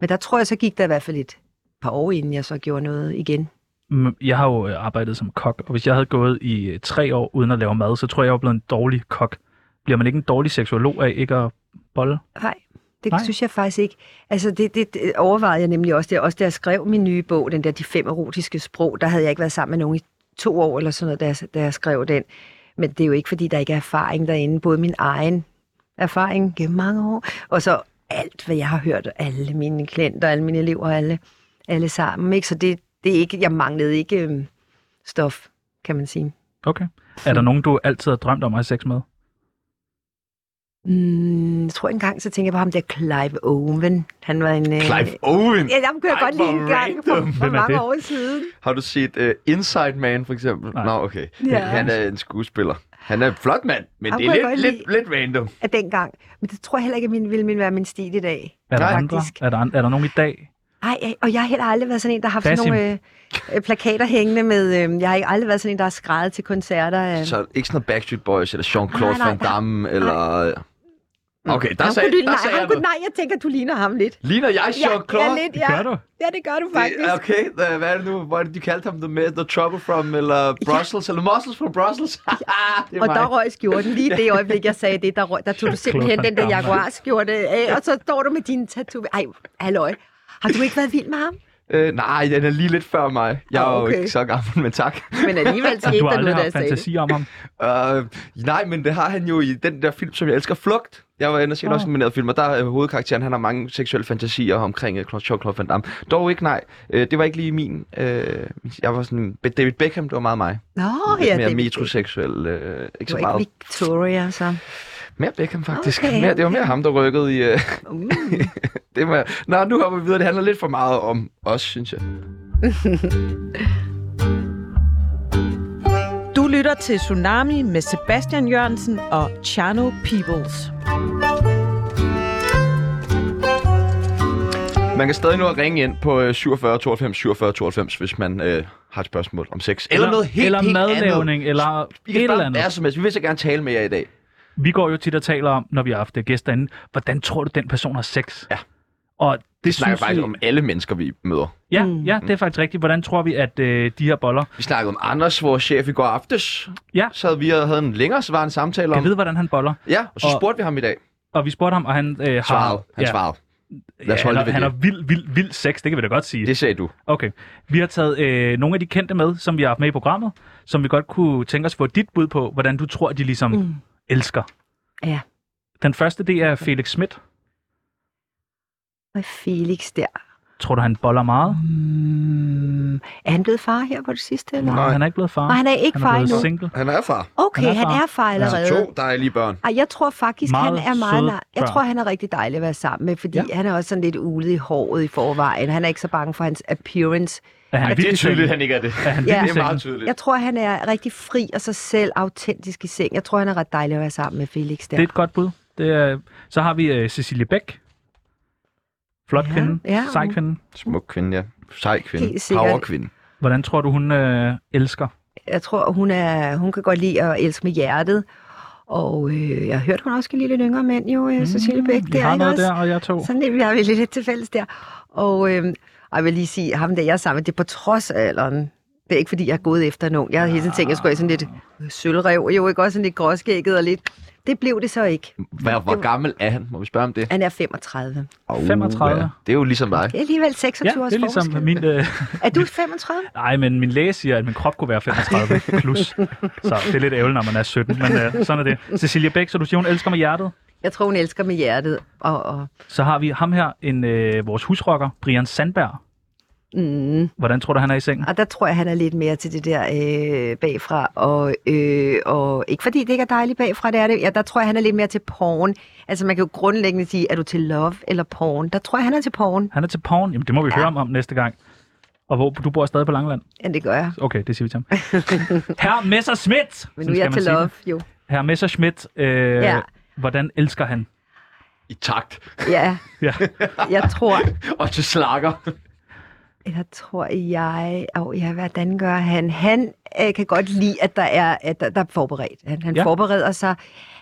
Men der tror jeg, så gik der i hvert fald et par år, inden jeg så gjorde noget igen. Mm, Jeg har jo øh, arbejdet som kok, og hvis jeg havde gået i øh, tre år uden at lave mad, så tror jeg, jeg var blevet en dårlig kok. Bliver man ikke en dårlig seksolog af ikke at bolle? Nej, det Nej. Nej. synes jeg faktisk ikke. Altså, det, det, det overvejede jeg nemlig også. Det, også da jeg skrev min nye bog, den der De fem erotiske sprog, der havde jeg ikke været sammen med nogen i to år eller sådan noget, da jeg, da jeg skrev den. Men det er jo ikke, fordi der ikke er erfaring derinde. Både min egen erfaring gennem mange år, og så alt, hvad jeg har hørt, af alle mine klienter, alle mine elever, alle, alle sammen. Ikke? Så det, det er ikke, jeg manglede ikke øhm, stof, kan man sige. Okay. Er Hmm. der nogen, du altid har drømt om at have sex med? Mm, jeg tror engang, så tænker jeg på ham der Clive Owen. Han var en... øh, Clive Owen. Ja, dem kunne jeg Ej, godt lide hvor en gang random. for, for Hvem er mange det? år siden. Har du set uh, Inside Man, for eksempel? Nej. Nå, okay. Ja. Han er en skuespiller. Han er en flot mand, men Ham det er kunne jeg lidt, godt lidt, lidt random. Af dengang. Men det tror jeg heller ikke, at min, ville min være min stil i dag. Er der, Nej, andre? faktisk. Er, der, an- er der nogen i dag? Ej, ej, og jeg har heller aldrig været sådan en, der har haft sådan Basim. nogle øh, øh, plakater hængende med... Øh, jeg har ikke aldrig været sådan en, der har skrevet til koncerter. Øh. Så er det ikke sådan noget Backstreet Boys, eller Jean-Claude Nej, nej, Van Damme, eller... Mm. Okay, der Ham sagde, kunne du, der nej, sagde ham jeg kunne, noget. nej, jeg tænker, du ligner ham lidt. Ligner jeg Jean-Claude? ja, lidt, Det ja. gør du. Ja, det gør du faktisk. Det- Okay, øh, hvad er det nu? Hvor er det, de kaldte ham? The, Ma- the Trouble from, eller Brussels, eller Muscles from Brussels? det er Og mig. der røg skjorten lige i det øjeblik, jeg sagde det. Der, røg, der tog du simpelthen den der jaguarskjorte af, og så står du med dine tatoveringer. Ej, halløj. Har du ikke været vild med ham? Øh, nej, den er lige lidt før mig. Jeg er Ah, jo okay. ikke så gammel, men tak. Men alligevel skete Du har der aldrig noget, da jeg haft sagde det. fantasi om ham. Øh, nej, men det har han jo i den der film, som jeg elsker, Flugt. Jeg var inde og se en Ah. også nomineret film, og der er hovedkarakteren, han har mange seksuelle fantasier omkring øh, Claus- Jean-Claude Van Damme. Dog ikke, nej. Øh, det var ikke lige min. Øh, jeg var sådan, David Beckham, det var meget mig. Nå, Lidt ja, mere det- metroseksuel. Øh, ikke Det så var ikke meget. Victoria, så. Mere Beckham, faktisk. Okay, mere, det var mere ham, der rykkede i... Øh, Uh. det med. Nå, nu hopper vi videre. Det handler lidt for meget om os, synes jeg. Du lytter til Tsunami med Sebastian Jørgensen og Chano Peoples. Man kan stadig nå at ringe ind på øh, 47 92 47 92, hvis man øh, har et spørgsmål om sex. Eller, noget helt, eller helt madlavning, andet. eller I kan et eller spørge om andet. hvad som helst. Vi vil så gerne tale med jer i dag. Vi går jo tit og taler om, når vi har haft øh, gæster inde, hvordan tror du, den person har sex? Ja. Og det, Vi snakker synes vi... faktisk om Mm. alle mennesker, vi møder. Ja, Mm. ja, det er faktisk rigtigt. Hvordan tror vi, at øh, de her boller... Vi snakkede om Anders, vores chef, i går aftes. Ja. Så havde vi og havde en længere svarende samtale Jeg om... ved, hvordan han boller. Ja, og så Og- spurgte vi ham i dag. Og vi spurgte ham, og han øh, har... Svarede. Han ja, svarede. Lad os ja, holde han, det ved har- han har det. vild, vild, vild sex, det kan vi da godt sige. Det sagde du. Okay. Vi har taget øh, nogle af de kendte med, som vi har haft med i programmet, som vi godt kunne tænke os at få dit bud på, hvordan du tror, de ligesom mm. elsker. Ja. Den første, det er Felix Schmidt. Og Felix der. Tror du, han boller meget? Mm. Er han blevet far her på det sidste? Eller? Nej. Han er ikke blevet far. Nej, han er ikke han er far blevet endnu. single. Han er far. Okay, Han er han far. er far allerede. To dejlige børn. Ej, jeg tror faktisk, Meget han er meget... søde Nej, jeg børn. tror, han er rigtig dejlig at være sammen med, fordi Ja. ja. han er også sådan lidt ulet i håret i forvejen. Han er ikke så bange for hans appearance. Er han Ej, det er virkelig single? tydeligt, han ikke er det. Er han Ja. virkelig Det er meget single? tydeligt. Jeg tror, han er rigtig fri og sig selv autentisk i seng. Jeg tror, han er ret dejlig at være sammen med Felix der. Det er et godt bud. Det er, så har vi uh, Cecilie Bæk. Flot Ja, kvinde. ja, Sej hun- kvinde. Smuk kvinde, ja. Sej kvinde. Helt sikkert. Power kvinde. Hvordan tror du, hun øh, elsker? Jeg tror, hun, er, hun kan godt lide at elske med hjertet. Og øh, jeg har hørt, hun også kan lide lidt yngre mænd jo, øh, Cecilie Bæk. Mm, Vi der, har ikke noget også? der, og jeg to. Sådan lidt, vi har vi lidt til fælles der. Og, øhm, og jeg vil lige sige, ham der jeg er sammen med, det er på trods af alderen. Det er ikke, fordi jeg er gået efter nogen. Jeg havde hele tiden tænkt, jeg skulle have sådan lidt sølvrev, jo ikke også sådan lidt gråskægget og lidt. Det blev det så ikke. Hvor, hvor gammel er han? Må vi spørge om det? Han er 35. Oh, 35. Det er jo ligesom dig. Det er alligevel Ja, 26 det års er ligesom forskel. min... Øh, Er du 35? nej, men min læge siger, at min krop kunne være 35 plus. Så det er lidt ærgerligt, når man er 17, men øh, sådan er det. Cecilie Bæk, så du siger, hun elsker med hjertet. Jeg tror, hun elsker med hjertet. Og, og... Så har vi ham her, en øh, vores husrocker, Brian Sandberg. Mm. Hvordan tror du, han er i sengen? Og der tror jeg, han er lidt mere til det der øh, bagfra. Og, øh, og ikke fordi det ikke er dejligt bagfra, det er det. Ja, der tror jeg, han er lidt mere til porn. Altså man kan jo grundlæggende sige, er du til love eller porn? Der tror jeg, han er til porn. Han er til porn. Jamen, det må vi ja. høre om, om næste gang. Og hvor, du bor stadig på Langeland? Ja, det gør jeg. Okay, det siger vi til ham. Herr Messerschmidt! Men nu Sådan er jeg skal man til sige love, det. jo. Herr Messerschmidt, øh, Ja. ja. hvordan elsker han? I takt. Ja, Ja. jeg tror, Og til slakker. Eller tror jeg, oh, ja, hvordan gør han? Han øh, kan godt lide, at der er, at der, der er forberedt. Han, han ja. Ja. forbereder sig.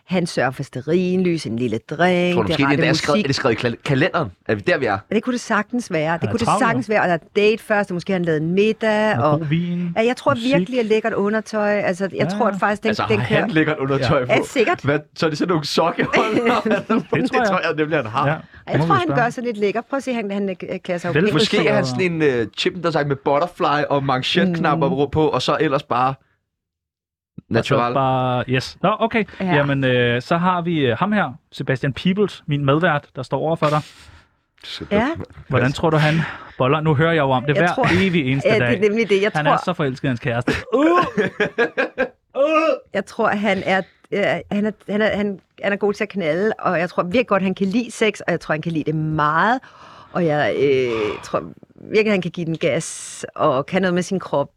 Han sørger for stearinlys, en lille drink, Tror du det måske, det er, rette endda musik. skrevet, er det skrevet i kal- kalenderen? Er vi der, vi er? Ja, Det kunne det sagtens være. Det er kunne det travl, jo. sagtens være. Og der er date først, og måske har han lavet en middag. Og Og, god vin. ja, jeg tror musik. virkelig, at lækkert undertøj. Altså, jeg Ja. ja. tror at faktisk, den, altså, den har han kører. lækkert undertøj på? Ja, sikkert. Hvad, så er det sådan nogle sokkeholder? det, tror jeg. det tror jeg nemlig, han har. Ja, Ja. det Jeg må tror, vi han spørge. gør sig lidt lækker. Prøv at se, han, han øh, klæder sig jo Vel, pænt. Måske er han sådan en uh, chippen, der sagt med butterfly og manchetknapper mm. på, og så ellers bare Og så natural. Altså, Bare, yes. Nå, okay. Ja. Ja. Jamen, øh, så har vi øh, ham her, Sebastian Peebles, min medvært, der står over for dig. Ja, Hvordan tror du, han boller? Nu hører jeg jo om det Jeg hver tror- evig eneste ja, dag. det er nemlig det. Jeg han tror, er så forelsket i hans kæreste. Jeg tror, han er, øh, han, er, han, er, han, han er god til at knalde, og jeg tror virkelig godt, han kan lide sex, og jeg tror, han kan lide det meget. Og jeg øh, tror virkelig, han kan give den gas, og kan noget med sin krop,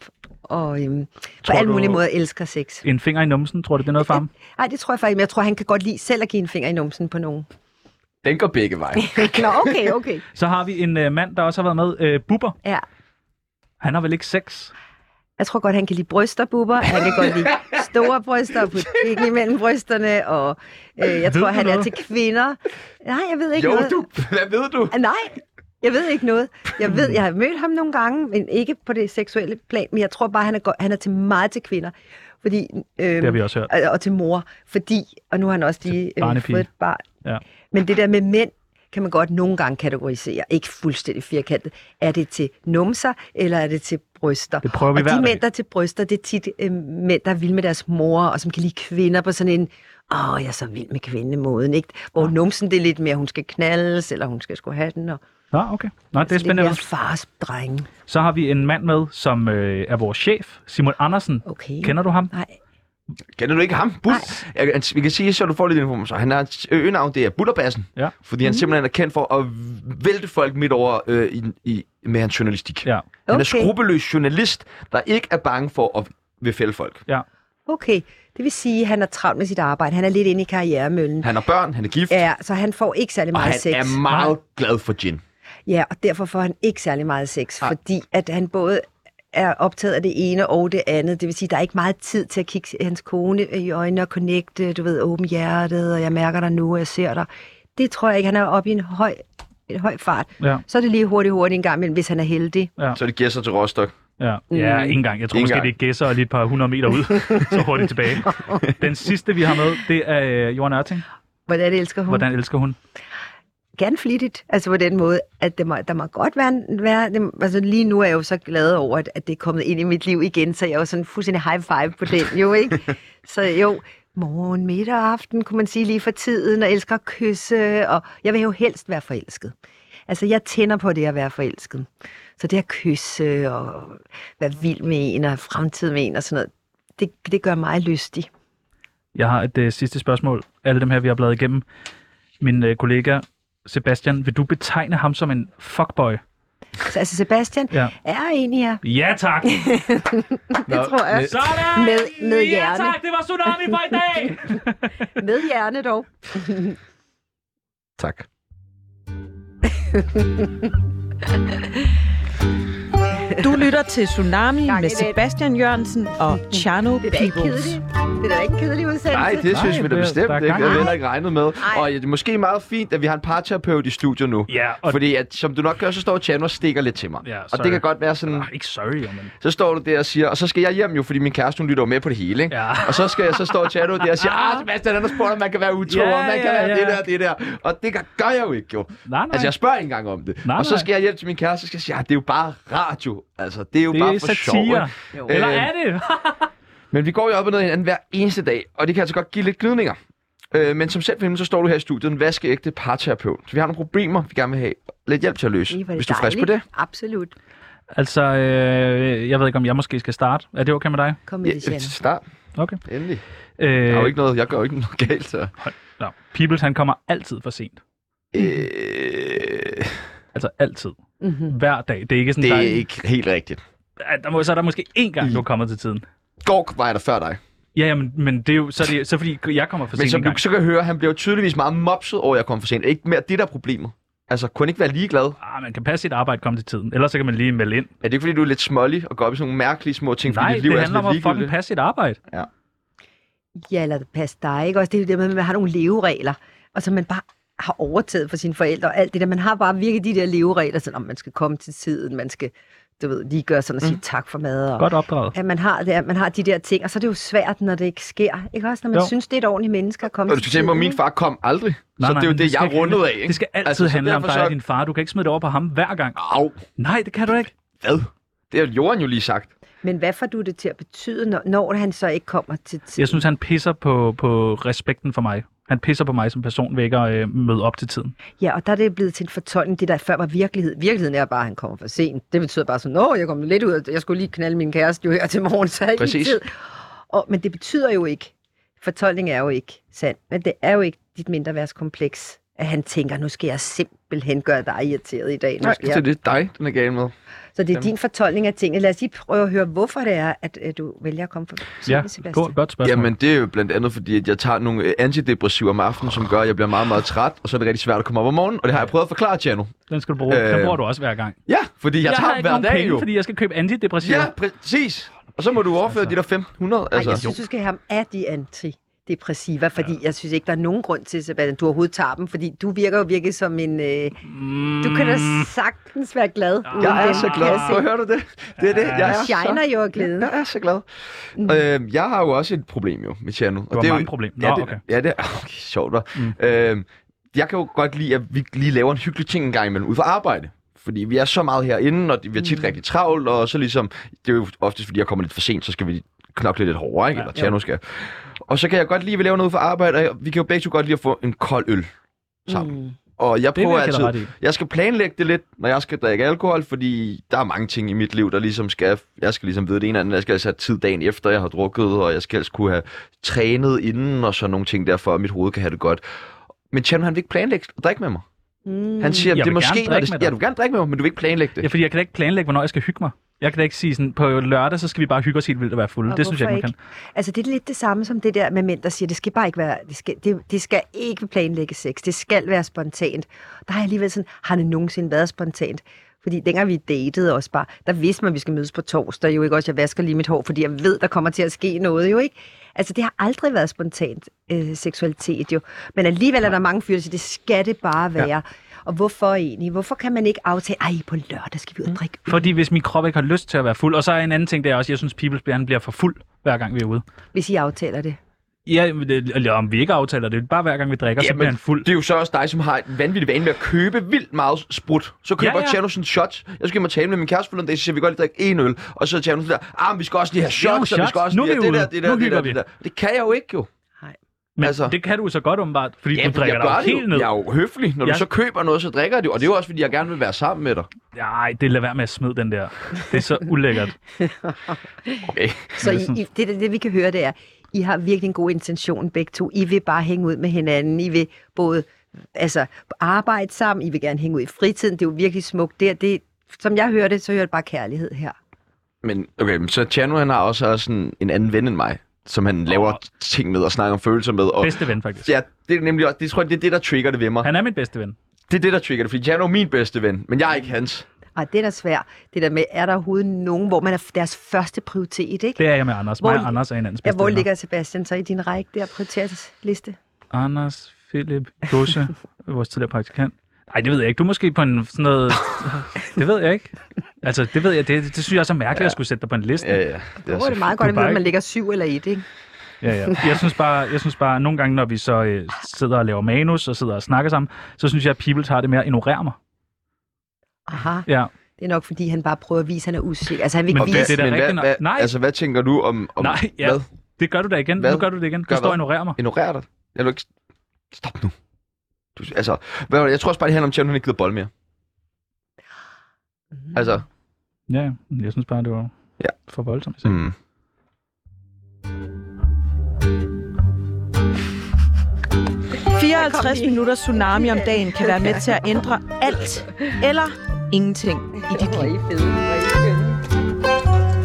og øhm, på Tror alle du- mulige måder elsker sex. En finger i numsen, tror du, det er noget for ham? Nej, det tror jeg faktisk, men jeg tror, han kan godt lide selv at give en finger i numsen på nogen. Den går begge veje. Nå, okay, okay. Så har vi en øh, mand, der også har været med, øh, Bubber. Ja. Han har vel ikke sex? Jeg tror godt, han kan lide bryster, bubber. Han kan godt lide store bryster og putte pikken imellem brysterne. Og øh, jeg Ved tror, du han er noget? til kvinder. Nej, jeg ved ikke jo, noget. du. Hvad ved du? Ah, Nej, jeg ved ikke noget. Jeg ved, jeg har mødt ham nogle gange, men ikke på det seksuelle plan, men jeg tror bare, han er, go- han er til meget til kvinder. Fordi, øh, Det har vi også hørt. og, og til mor, fordi, og nu har han også lige øh, barnepige. fået et barn. Ja. Men det der med mænd, kan man godt nogle gange kategorisere, ikke fuldstændig firkantet. Er det til numser, eller er det til bryster? Det prøver vi og hver de dag. mænd, der er til bryster, det er tit øh, mænd, der er vilde med deres mor, og som kan lide kvinder på sådan en, åh, jeg er så vild med kvindemåden, ikke? Hvor numsen, det er lidt mere, hun skal knaldes, eller hun skal skulle have den, og Nå, okay. Nå, det er lidt mere spændende. fars drenge. Så har vi en mand med, som øh, er vores chef, Simon Andersen. Okay. Kender du ham? Nej, Kender du ikke ham? Bus. Jeg, altså, vi kan sige, så du får lidt information. Han har øgenavn, det er Butterbassen. Ja. Fordi Mm. han simpelthen er kendt for at vælte folk midt over øh, i, i, med hans journalistik. Ja. Han er Okay. skrupelløs journalist, der ikke er bange for at vil fælde folk. okay. Det vil sige, at han er travlt med sit arbejde. Han er lidt inde i karrieremøllen. Han har børn, han er gift, Ja, så han får ikke særlig og meget han sex. er meget glad for gin. Ja, og derfor får han ikke særlig meget sex, Ej. fordi at han både er optaget af det ene og det andet. Det vil sige, der er ikke meget tid til at kigge hans kone i øjnene og connecte, du ved, åben hjertet, og jeg mærker dig nu, og jeg ser dig. Det tror jeg ikke, han er oppe i en høj, en høj fart. Ja. Så er det lige hurtigt, hurtigt en gang imellem, hvis han er heldig. Så det giver sig til Rostock. Ja, Mm. ja ikke engang. Jeg tror Ikke måske, engang. det er gæsser og lige et par hundrede meter ud, så hurtigt tilbage. Den sidste, vi har med, det er øh, Johan Ørting. Mm. Hvordan elsker hun? Hvordan elsker hun? gerne flittigt, altså på den måde, at det må, der må godt være, en- være det, altså lige nu er jeg jo så glad over, at, at det er kommet ind i mit liv igen, så jeg er jo sådan fuldstændig high five på den jo, ikke? Så jo, morgen, middag og aften, kunne man sige lige for tiden, og elsker at kysse, og jeg vil jo helst være forelsket. Altså, jeg tænder på det at være forelsket. Så det at kysse og være vild med en og have fremtid med en og sådan noget, det, det gør mig lystig. Jeg har et øh, sidste spørgsmål. Alle dem her, vi har bladet igennem. Min øh, kollega Sebastian, vil du betegne ham som en fuckboy? Så altså, Sebastian Ja. er en her, Ja, tak! det tror jeg, Sådan! Med- med hjerne. Ja, tak! Det var Tsunami for i dag! med hjerne dog. Tak. Du lytter til Tsunami Gang i med den. Sebastian Jørgensen og Chano Det er da ikke Peoples. kedeligt. Det er da ikke kedelig udsendelse. Nej, det synes Nej, vi da der- bestemt der er ikke. gang Jeg havde i den. heller ikke regnet med. Nej. Og ja, det er måske meget fint, at vi har en parterapeut i studiet nu. Ja, og... Fordi... Fordi at, som du nok gør, så står Chan og stikker lidt til mig. Ja, og sorry. det kan godt være sådan, Ah, ikke sorry, men... så står du der og siger, og så skal jeg hjem jo, fordi min kæreste, hun lytter jo med på det hele, ikke? Ja. Og så, skal jeg, så står Chano der og siger, ah, Sebastian, han har spurgt, om man kan være utro, Ja, ja, man kan ja, være ja. det der, det der. Og det gør gør jeg jo ikke, jo. Nej, nej. Altså, jeg spørger ikke engang om det. Nej, og så nej. skal jeg hjem til min kæreste, og skal jeg sige, ah, det er jo bare radio. Altså, det er jo Det bare er for satire. sjov. ikke? Eller Øh, er det? men vi går jo op og ned af hinanden hver eneste dag, og det kan altså godt give lidt glidninger. Øh, men som selv for hende, så står du her i studiet, en vaskeægte parterapeut. Så vi har nogle problemer, vi gerne vil have lidt hjælp til at løse, Ih, hvor er det hvis du er frisk på dejligt. det. Absolut. Altså, øh, jeg ved ikke, om jeg måske skal starte. Er det okay med dig? Kom med det, øh, Jan. start. Okay. Endelig. Øh, Jeg, har jo ikke noget, jeg gør jo ikke noget galt, så... no. Peebles, han kommer altid for sent. Øh, Altså altid. Mm-hmm. Hver dag. Det er ikke sådan, det der, er ikke helt rigtigt. Ja, der må, så er der måske én gang, du kommer til tiden. Gork var der før dig. Ja, ja men, men det er jo, så, er det, så fordi jeg kommer for Men sent som en du gang. så kan høre, han bliver jo tydeligvis meget mopset over, at jeg kom for sent. Ikke mere det, der er problemet. Altså, kun ikke være ligeglad. Ah, man kan passe sit arbejde komme til tiden. Ellers så kan man lige melde ind. Er det ikke, fordi du er lidt smålig og går op i sådan nogle mærkelige små ting, fordi Nej, dit liv det er handler sådan om at lidt fucking ligegyldigt? passe sit arbejde. Ja, eller pas dig, ikke? Også det er jo det med, at man har nogle leveregler, og så man bare har overtaget for sine forældre og alt det der. Man har bare virkelig de der leveregler, sådan om man skal komme til tiden, man skal, du ved, lige gøre sådan og sige mm. tak for mad. Og, Godt opdraget. At man har, det, at man har de der ting, og så er det jo svært, når det ikke sker. Ikke også, når man Jo. jo. synes, det er et ordentligt menneske at komme Og du skal til tænke tiden. på, at min ikke? far kom aldrig. Nej, så nej, det er jo men det, jeg skal er rundet af, handle- ikke? Det skal altid Altså, så handle om dig derfor så- Ah. og din far. Du kan ikke smide det over på ham hver gang. Au, Nej, det kan du ikke. hvad? Det har Jorden jo lige sagt. Men hvad får du det til at betyde, når, når han så ikke kommer til tiden? Jeg synes, han pisser på, på respekten for mig. Han pisser på mig som person ved ikke at øh, møde op til tiden. Ja, og der er det blevet til en fortolkning, det der før var virkelighed. Virkeligheden er bare, at han kommer for sent. Det betyder bare sådan, at jeg kom lidt ud, og jeg skulle lige knalde min kæreste jo her til morgen, så jeg ikke Præcis. Præcis. tid. Og, men det betyder jo ikke, fortolkning er jo ikke sand, men det er jo ikke dit mindreværdskompleks, at han tænker, nu skal jeg simpelthen gøre dig irriteret i dag. Nu Nej, skal så jeg. det er dig, den er gal med. Så det er din fortolkning af tingene. Lad os lige prøve at høre, hvorfor det er, at øh, du vælger at komme for sent, Ja, Sebastian. godt, godt spørgsmål. Jamen, det er jo blandt andet, fordi at jeg tager nogle øh, antidepressiva om aftenen, som gør, at jeg bliver meget, meget træt, og så er det rigtig svært at komme op om morgenen, og det har jeg prøvet at forklare til jer nu. Den skal du bruge. Øh, den Øh, bruger du også hver gang. Ja, fordi jeg, jeg tager har dem ikke hver nogen dag penge, jo. fordi jeg skal købe antidepressiva. Ja, præcis. Og så må du overføre Altså. de der 1500. Altså, Ej, jeg Altså. synes, du skal have ham af de antidepressiva, fordi ja. jeg synes ikke, der er nogen grund til, Sebastian, at du overhovedet tager dem, fordi du virker jo virkelig som en... Øh, Mm, du kan da sagtens være glad. uden Jeg er dem, så kan glad. jeg se. Hvor hører du det? Det er det. Jeg Du er shiner så, jo af glæde. jeg er så glad. Øh, jeg har jo også et problem jo med Tjerno. Du har det er jo, mange problemer. Ja, Nå, det, okay. ja, det er okay, sjovt. Mm. Øh, jeg kan jo godt lide, at vi lige laver en hyggelig ting en gang imellem ud for arbejde. Fordi vi er så meget herinde, og det- vi er tit mm. rigtig travlt, og så ligesom, det er jo oftest, fordi jeg kommer lidt for sent, så skal vi knokle lidt hårdere, ikke? Ja, Eller Tjerno skal. Og så kan jeg godt lide, at vi laver noget ud for arbejde, og vi kan jo begge to godt lide at få en kold øl sammen. Mm. Og jeg det vil prøver jeg give dig altid, ret i. jeg skal planlægge det lidt, når jeg skal drikke alkohol, fordi der er mange ting i mit liv, der ligesom skal... Jeg skal ligesom vide det ene eller andet. Jeg skal altså have tid dagen efter, jeg har drukket, og jeg skal altså kunne have trænet inden og sådan nogle ting derfor, at mit hoved kan have det godt. Men Chan, han vil ikke planlægge at drikke med mig. Mm. Han siger, Jeg at det vil er måske... gerne Når drikke det, med dig. ja, du vil gerne drikke med mig, men du vil ikke planlægge det. Ja, fordi jeg kan da ikke planlægge, hvornår jeg skal hygge mig. Jeg kan da ikke sige sådan, på lørdag, så skal vi bare hygge os helt vildt og være fulde. Og det synes jeg hvorfor ikke, man kan. Altså, det er lidt det samme som det der med mænd, der siger, det skal bare ikke være, det skal, det, det skal ikke planlægge sex, det skal være spontant. Der har jeg alligevel sådan, har det nogensinde været spontant? Fordi dengang vi datede også bare, der vidste man, at vi skal mødes på torsdag, jo ikke også, jeg vasker lige mit hår, fordi jeg ved, der kommer til at ske noget, jo ikke? Altså, det har aldrig været spontant øh, seksualitet, jo. Men alligevel er der mange fyre, der siger, det skal det bare være. Ja. Og hvorfor egentlig? Hvorfor kan man ikke aftale, ej, på lørdag skal vi Mm. ud og drikke øl? Fordi hvis min krop ikke har lyst til at være fuld, og så er en anden ting, det er også, jeg synes, Peoples bliver, han bliver for fuld, hver gang vi er ude. hvis I aftaler det? Ja, men det- eller om vi ikke aftaler det, bare hver gang vi drikker, ja, så Jamen, bliver han fuld. Altså, Det er jo så også dig, som har en vanvittig vane med at købe vildt meget sprut. Så køber ja, Ja, ja. ja. Tjerno sådan shots. Jeg skal mig tale med min kæreste for en dag, så siger vi godt lige drikke en øl. Og så er Tjerno sådan der, ah, men vi skal også lige have Vi shots, har og nogle vi skal shots. også Nu er lige vi have det ude. der, det der, Nu det hygger der, vi. det der. Det kan jeg jo ikke jo. Men altså, altså- det kan du jo så godt åbenbart, fordi ja, du fordi drikker jeg gør dig det helt jo. ned. Jeg er jo høflig. Når ja. Jeg- du så køber noget, så drikker jeg det jo. Og det er jo også, fordi jeg gerne vil være sammen med dig. Nej, det lader være med at smide den der. Det er så ulækkert. Okay. Så Eller sådan. I, I, det, det, det, vi kan høre, det er, I har virkelig en god intention begge to. I vil bare hænge ud med hinanden. I vil både altså, arbejde sammen. I vil gerne hænge ud i fritiden. Det er jo virkelig smukt. Det, er- det, som jeg hører det, så hører det bare kærlighed her. Men okay, men så Tjerno, han har også sådan en anden ven end mig, som han laver ting med og snakker om følelser med. Og Bedste ven, faktisk. ja, det er nemlig også, det tror jeg, det er det, der trigger det ved mig. Han er min bedste ven. Det er det, der trigger det, fordi Tjerno er min bedste ven, men jeg er ikke hans. Og det er da svært. Det der med, er der overhovedet nogen, hvor man er deres første prioritet, ikke? Det er jeg med Anders. Hvor- Mig og Anders er hinandens Ja, bedste hvor venner. ligger Sebastian så i din række der prioriteringsliste? Anders, Philip, Gosse, vores tidligere praktikant. Nej, det ved jeg ikke. Du er måske på en sådan noget... Det ved jeg ikke. Altså, det ved jeg. Det, det synes jeg også er mærkeligt, ja. at jeg skulle sætte dig på en liste. Ja, ja. Det er, det er meget du godt at vide, bare om man ikke- ligger syv eller et, ikke? Ja, ja. Jeg synes bare, jeg synes bare at nogle gange, når vi så øh, sidder og laver manus og sidder og snakker sammen, så synes jeg, at people har det med at ignorere mig. Aha, Ja, det er nok, fordi han bare prøver at vise, at han er usikker. Altså, han vil Men ikke det- vise... det er da men hvad, rigtigt nok. hvad, Nej. Altså, hvad tænker du om, om Nej, ja. hvad? det gør du da igen. Hvad? Hvad? Nu gør du det igen. Du Gør står og hvad? ignorerer mig. Ignorerer dig? Jeg vil ikke... Stop nu. Du, altså, Mm. hvad, var det? jeg tror også bare, det handler om, at Tjerno ikke gider bold mere. Altså, Ja, ja. jeg synes bare, det var Ja. for voldsomt. Mm. Mm. kom 54 lige. minutter tsunami om dagen kan være med til at ændre alt eller ingenting i dit liv. I fede, hvor er I skønne.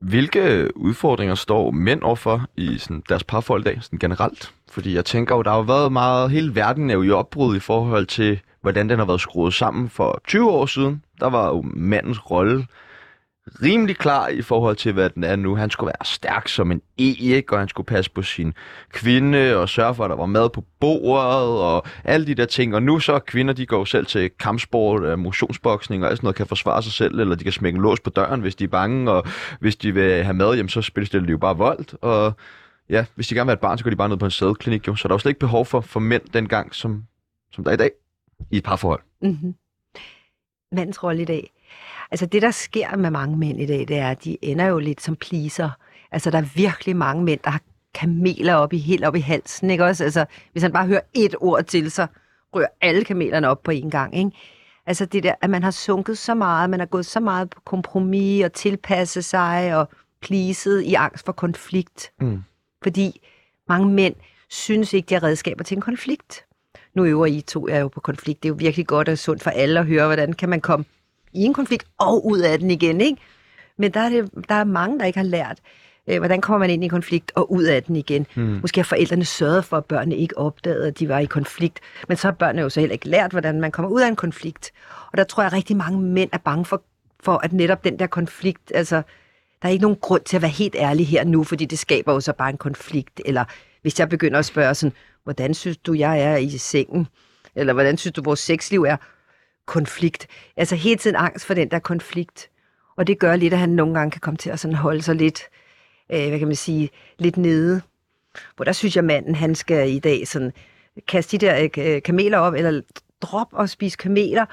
Hvilke udfordringer står mænd overfor i sådan, deres parforhold i dag, sådan generelt? Fordi jeg tænker jo, der har jo været meget, hele verden er jo i opbrud i forhold til, hvordan den har været skruet sammen for 20 år siden. Der var jo mandens rolle rimelig klar i forhold til, hvad den er nu. Han skulle være stærk som en e, ikke? og han skulle passe på sin kvinde og sørge for, at der var mad på bordet og alle de der ting. Og nu så kvinder, de går jo selv til kampsport, øh, motionsboksning og alt sådan noget, kan forsvare sig selv, eller de kan smække en lås på døren, hvis de er bange, og hvis de vil have mad, jamen, så spiller de jo bare vold. Og ja, hvis de gerne vil have et barn, så går de bare ned på en sædklinik, jo. Så der er jo slet ikke behov for, for mænd dengang, som, som der er i dag, i et parforhold. Mm-hmm. Mandens rolle i dag. Altså det, der sker med mange mænd i dag, det er, at de ender jo lidt som pleaser. Altså der er virkelig mange mænd, der har kameler op i, helt op i halsen, ikke også? Altså hvis han bare hører et ord til, så rører alle kamelerne op på én gang, ikke? Altså det der, at man har sunket så meget, man har gået så meget på kompromis og tilpasset sig og pleaset i angst for konflikt. Mm. Fordi mange mænd synes ikke, de har redskaber til en konflikt. Nu øver I to jer jo på konflikt. Det er jo virkelig godt og sundt for alle at høre, hvordan kan man komme i en konflikt og ud af den igen, ikke? Men der er, det, der er mange, der ikke har lært, øh, hvordan kommer man ind i en konflikt og ud af den igen. Mm. Måske har forældrene sørget for, at børnene ikke opdagede, at de var i konflikt, men så har børnene jo så heller ikke lært, hvordan man kommer ud af en konflikt. Og der tror jeg, at rigtig mange mænd er bange for, for at netop den der konflikt, altså der er ikke nogen grund til at være helt ærlig her nu, fordi det skaber jo så bare en konflikt. Eller hvis jeg begynder at spørge sådan, hvordan synes du, jeg er i sengen? Eller hvordan synes du, vores sexliv er? Konflikt. Altså hele tiden angst for den der konflikt. Og det gør lidt, at han nogle gange kan komme til at sådan holde sig lidt, øh, hvad kan man sige, lidt nede. Hvor der synes jeg, manden han skal i dag sådan, kaste de der øh, kameler op, eller drop og spise kameler,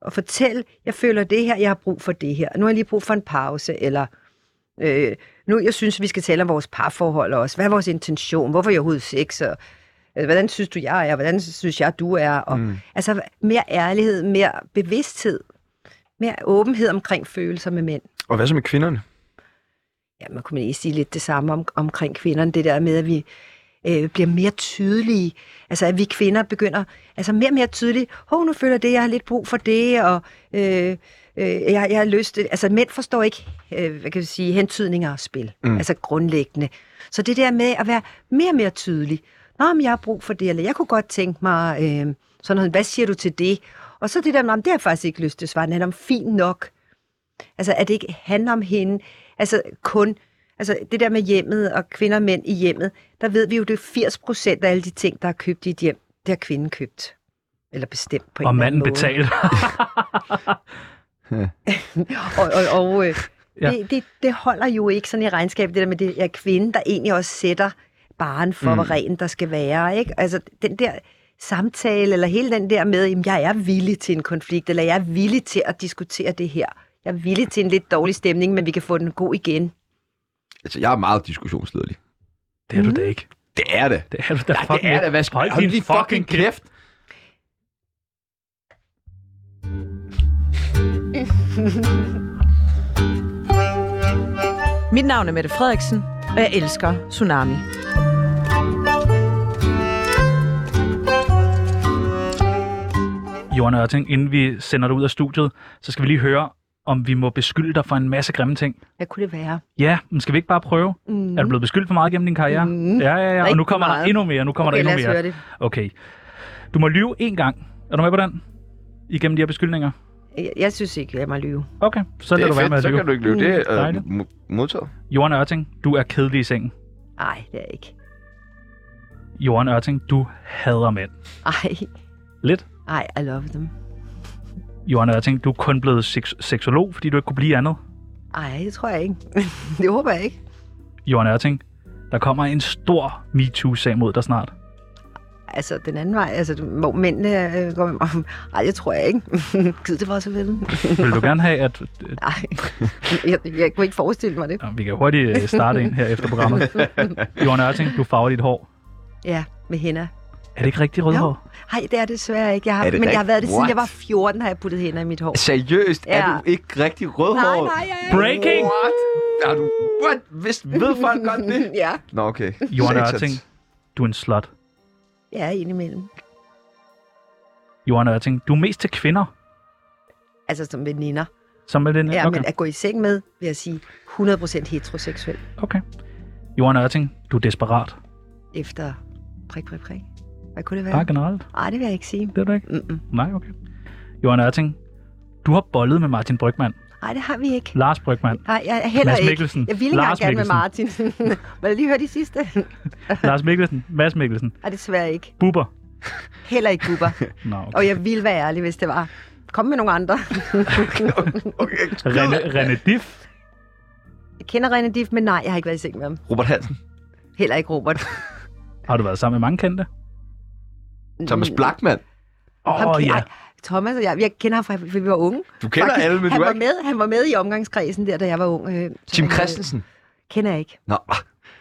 og fortæl, jeg føler det her, jeg har brug for det her. Nu har jeg lige brug for en pause, eller Øh, nu, jeg synes, vi skal tale om vores parforhold også. Hvad er vores intention? Hvorfor er jeg overhovedet sex? Og, øh, hvordan synes du, jeg er? Hvordan synes jeg, du er? Og, mm. Altså, mere ærlighed, mere bevidsthed, mere åbenhed omkring følelser med mænd. Og hvad så med kvinderne? Ja, man kunne ikke sige lidt det samme om, omkring kvinderne, det der med, at vi øh, bliver mere tydelige. Altså, at vi kvinder begynder altså mere og mere tydelige. Hov, nu føler jeg det, jeg har lidt brug for det, og øh, øh, jeg, jeg har lyst til... Altså, mænd forstår ikke, øh, hvad kan jeg sige, hentydninger og spil. Mm. Altså grundlæggende. Så det der med at være mere og mere tydelig. Nå, men jeg har brug for det, eller jeg kunne godt tænke mig øh, sådan noget. Hvad siger du til det? Og så det der, "Nå, men det har jeg faktisk ikke lyst til at svare. Den er fint nok. Altså, at det ikke handler om hende. Altså, kun... Altså, det der med hjemmet og kvinder og mænd i hjemmet, der ved vi jo, det er 80 procent af alle de ting, der er købt i et hjem, det har kvinden købt. Eller bestemt på en Og eller anden manden måde. betaler. Og, og, og øh, Ja. ja. det, det, det holder jo ikke sådan i regnskabet, det der med, det er kvinden, der egentlig også sætter baren for, mm. hvor ren der skal være. Ikke? Altså, den der samtale, eller hele den der med, jamen, jeg er villig til en konflikt, eller jeg er villig til at diskutere det her. Jeg er villig til en lidt dårlig stemning, men vi kan få den god igen. Altså, jeg er meget diskussionsledelig. det er du da ikke. Det er det. Det er du da Ja, fucking det er ikke. det. Hvad skal Hold din fucking kæft. Mit navn er Mette Frederiksen, og jeg elsker Tsunami. Johan Ørting, inden vi sender dig ud af studiet, så skal vi lige høre, om vi må beskylde dig for en masse grimme ting. Hvad kunne det være? Ja, men skal vi ikke bare prøve? Mm. Er du blevet beskyldt for meget gennem din karriere? Mm. Ja, ja, ja. Og nu Rigtig kommer der meget. endnu mere. Nu kommer okay, der lad endnu os mere. høre det. Okay. Du må lyve én gang. Er du med på den? Igennem de her beskyldninger? Jeg, jeg synes ikke, jeg må lyve. Okay, så Det lader er du være med fedt, at så lyve. kan du ikke løbe. Det er øh, Dejligt. mo- modtaget. Johan Ørting, du er kedelig i sengen. Nej, det er jeg ikke. Johan Ørting, du hader mænd. Ej, Lidt. ej, I love them. Johan Ørting, du er kun blevet seks- seksolog, fordi du ikke kunne blive andet. Ej, det tror jeg ikke. det håber jeg ikke. Johan Ørting, der kommer en stor MeToo-sag mod dig snart. Altså, den anden vej, altså, hvor mændene øh, går med mig. Ej, det tror jeg ikke. Gid det var så vel. Vil du gerne have, at... Nej, jeg, jeg kunne ikke forestille mig det. Nå, Vi kan hurtigt øh, starte ind her efter programmet. Johan Ørting, du farver dit hår. Ja, med hende. Er det ikke rigtig rødhår? Nej, det er det desværre ikke. Jeg har, Er det men da jeg har ikke? været det siden What? Altså, jeg var 14, har jeg puttet hænder i mit hår. Seriøst? Ja. Er Ja. du ikke rigtig rødhåret? Nej, nej, jeg er Breaking! What? Er du... What? Hvis, ved folk godt det? Ja, Nå, okay. Johan Satans. Ørting, du er en slut. jeg er indimellem. Johan Ørting, du er mest til kvinder, Altså som veninder. som er den Ja, okay. men at gå i seng med, vil jeg sige, 100% heteroseksuel. okay. Johan Ørting, du er desperat. Efter prik, prik, prik. Hvad kunne det være? Bare generelt. Nej, det vil jeg ikke sige. Det er du ikke? Mm-mm. Nej, okay. Johan Ørting, du har bollet med Martin Brygman. Nej, det har vi ikke. Lars Brygman. Nej, jeg er heller Mads ikke. Mikkelsen. Jeg ville engang Lars gerne med Martin. Må jeg lige høre de sidste? Lars Mikkelsen. Mads Mikkelsen. Nej, desværre ikke. Bubber. Heller ikke Bubber. Nå, okay. Og jeg ville være ærlig, hvis det var. Kom med nogle andre. okay. René, René Diff. Jeg kender René Diff, men nej, jeg har ikke været i seng med ham. Robert Hansen. Heller ikke Robert. Har du været sammen med mange kendte? Thomas Mm. Blackman. Åh, Ham oh, ke- ja. Ej, Thomas og jeg, jeg kender ham fra, for vi var unge. Du kender Faktisk. alle, men han du er var ikke... med, Han var med i omgangskredsen der, da jeg var ung. Øh, så Tim han, øh, Christensen. Kender jeg ikke. Nå,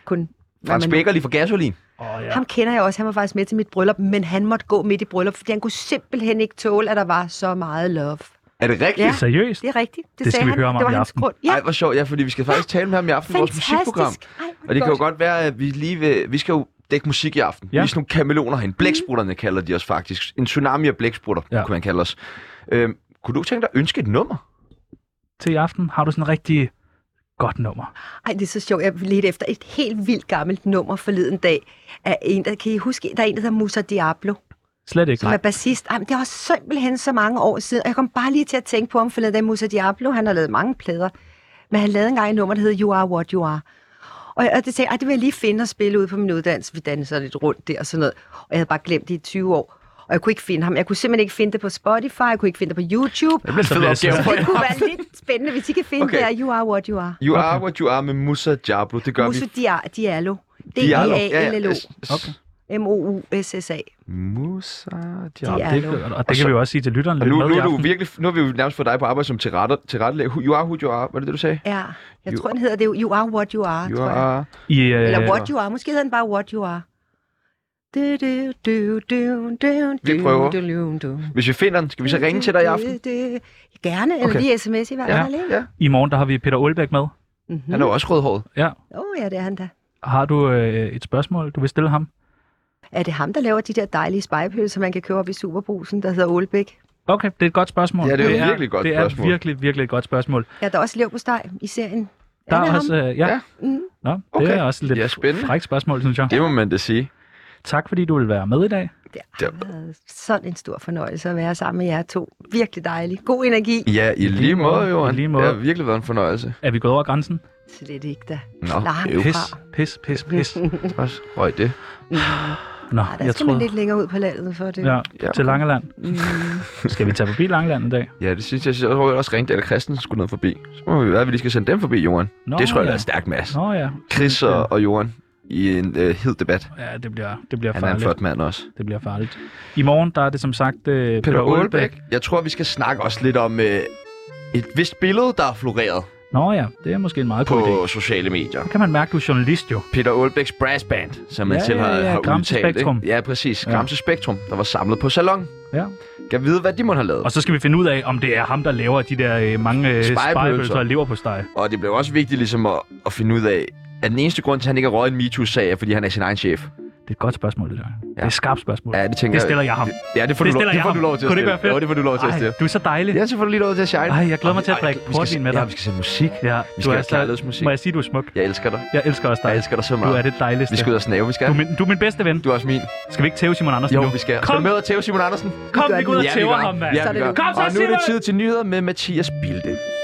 Kun. hvad Frans man- Becker lige fra Gasolin. Åh, ja. Ham kender jeg også. Han var faktisk med til mit bryllup, men han måtte gå midt i bryllup, fordi han kunne simpelthen ikke tåle, at der var så meget love. Er det rigtigt? Ja. Seriøst? Det er rigtigt. Det, Det skal sagde vi han. høre om det var om i hans aften. grund. Ja. Ja, Ej, hvor sjovt. Ja, fordi vi skal faktisk tale med ham i aften i vores musikprogram. fantastisk. Ej, hvor Og det kan jo godt. godt være, at vi lige vil, vi skal jo dække musik i aften. Ja. Ja. Vi er sådan nogle kameloner herinde. Blæksprutterne kalder de os faktisk. En tsunami af blæksprutter, ja. Ja. kunne man kalde os. Øhm, kunne du tænke dig at ønske et nummer? Til i aften har du sådan en rigtig godt nummer. Ej, det er så sjovt. Jeg ledte efter et helt vildt gammelt nummer forleden dag. Af en, der, kan I huske, der er en, der hedder Musa Diablo, Slet ikke. som er bassist. Ej, men det var simpelthen så mange år siden, og jeg kom bare lige til at tænke på ham forleden dag. Musa Diablo, han har lavet mange plader, men han lavede engang et nummer, der hedder You Are What You Are. Og, jeg, og det sagde jeg, "Ej, det vil jeg lige finde og spille ud på min uddannelse. Vi danser lidt rundt der og sådan noget. Og jeg havde bare glemt det i 20 år. Og jeg kunne ikke finde ham. Jeg kunne simpelthen ikke finde det på Spotify. Jeg kunne ikke finde det på YouTube. Det bliver en Så fed bliver jeg opgave sådan- for Det kunne jer. være lidt spændende, hvis I kan finde Okay. okay. det her You Are What You Are. You are what you are med Musa Diablo. Det gør Musso vi. Dia- Diallo. Diallo. Ja, ja. D-I-A-L-L-O. S- s- Okay. M-O-U-S-S-a. Musa Nå, Diablo. Ja. det, Dialog. og det kan vi jo også sige til lytteren Og lidt nu, nu, med i er du aften. virkelig, nu har vi jo nærmest fået dig på arbejde som tilretter, tilrettelæg. You are who you are. Var det det, du sagde? Ja, jeg You- tror, den hedder det. You are what you are, You tror jeg. are... I, øh, Eller what you are. Måske hedder den bare what you are. Du, du, du, du, du, Vi du, prøver. du, du, du. Hvis vi finder den, skal vi så ringe til dig i aften? Du, du, du. Gerne, eller Okay. lige sms i hvert Ja, fald. Mhm. ja. I morgen der har vi Peter Olbæk med. Han er jo også rødhåret. Ja. Åh, oh, ja, det er han da. Har du øh, et spørgsmål, du vil stille ham? Er det ham, der laver de der dejlige spejepølser, man kan købe op i Superbrusen, der hedder Ålbæk? Okay, det er et godt spørgsmål. Ja, det er et virkelig godt det spørgsmål. Det er virkelig, virkelig et godt spørgsmål. Ja, der er også lev på steg i serien. Der er er det også, ham? øh, ja. Ja. ja. Mm. Nå, okay. Okay. det er også lidt Ja, spændende. frækt spørgsmål, synes jeg. Det må man da sige. Tak, fordi du vil være med i dag. Det har været sådan en stor fornøjelse at være sammen med jer to. Virkelig dejligt. God energi. Ja, i lige måde, Johan. I lige måde. Det har virkelig været en fornøjelse. Er vi gået over grænsen? Slet ikke da. Nå, Langt øv. Pis, fra. pis, pis, pis. Også røg det. Nå, Ej, der jeg skal man tror... lidt længere ud på landet for det. Ja, Ja, til okay. Langeland. Skal vi tage forbi Langeland i dag? Ja, det synes jeg. Så tror jeg også ringte, eller Christensen skulle ned forbi. Så må vi være, at vi lige skal sende dem forbi, Johan. Nå, det tror jeg, ja. der er stærkt, Mads. Nå ja, Chris og, og Johan i en øh, hed debat. ja det bliver, det bliver Han er en farligt. flot mand også. Det bliver farligt. I morgen, der er det som sagt øh, Peter Aalbæk. Jeg tror, vi skal snakke også lidt om øh, et vist billede, der er floreret Nå ja, det er måske en meget god idé. på sociale medier. Så kan man mærke, du er journalist jo. Peter Aalbæks Brass Band, som man Ja, selv har, ja, ja, har Gramse udtalt. Spektrum. Ikke? Ja, præcis. Ja. Gramse Spektrum, der var samlet på salon. Ja. Kan vide, hvad de må have lavet. Og så skal vi finde ud af, om det er ham, der laver de der øh, mange øh, Spegepølser. spejepølser og lever på steg. Og det blev også vigtigt ligesom at, at finde ud af, at den eneste grund til, at han ikke har røget en MeToo-sag, er, fordi han er sin egen chef. Det er et godt spørgsmål, det der. Det er Ja. et skarpt spørgsmål. Ja, det tænker det stiller jeg ham. Ja, det får, Det du, lov, stiller det jeg får ham. du lov til Kunne at stille. det ikke være fedt? Jo, det får du lov til at Ej, stille. du er så dejlig. Ja, så får du lige lov til at shine. Ej, jeg glæder mig til at Ej, drikke vi skal- portvin med dig. Ja, vi skal sende musik. Ja, Vi du skal er have kærlighedsmusik. så... Må jeg sige, du er smuk? Jeg elsker dig. Jeg elsker også dig. Jeg elsker dig så Du meget. er det dejligste. Vi skal ud og snave, vi skal. du, er min, du er min bedste ven. Du er også min. Skal vi ikke tæve Simon Andersen Jo, nu? vi skal. Skal Kom, du med og tæve Simon Andersen? kom gør vi går ud Ja, og vi tæver gør. ham, mand. Ja, vi Så er gør. det nu. Kom så, Og nu er det Simon! tid til nyheder med Mathias Bilde.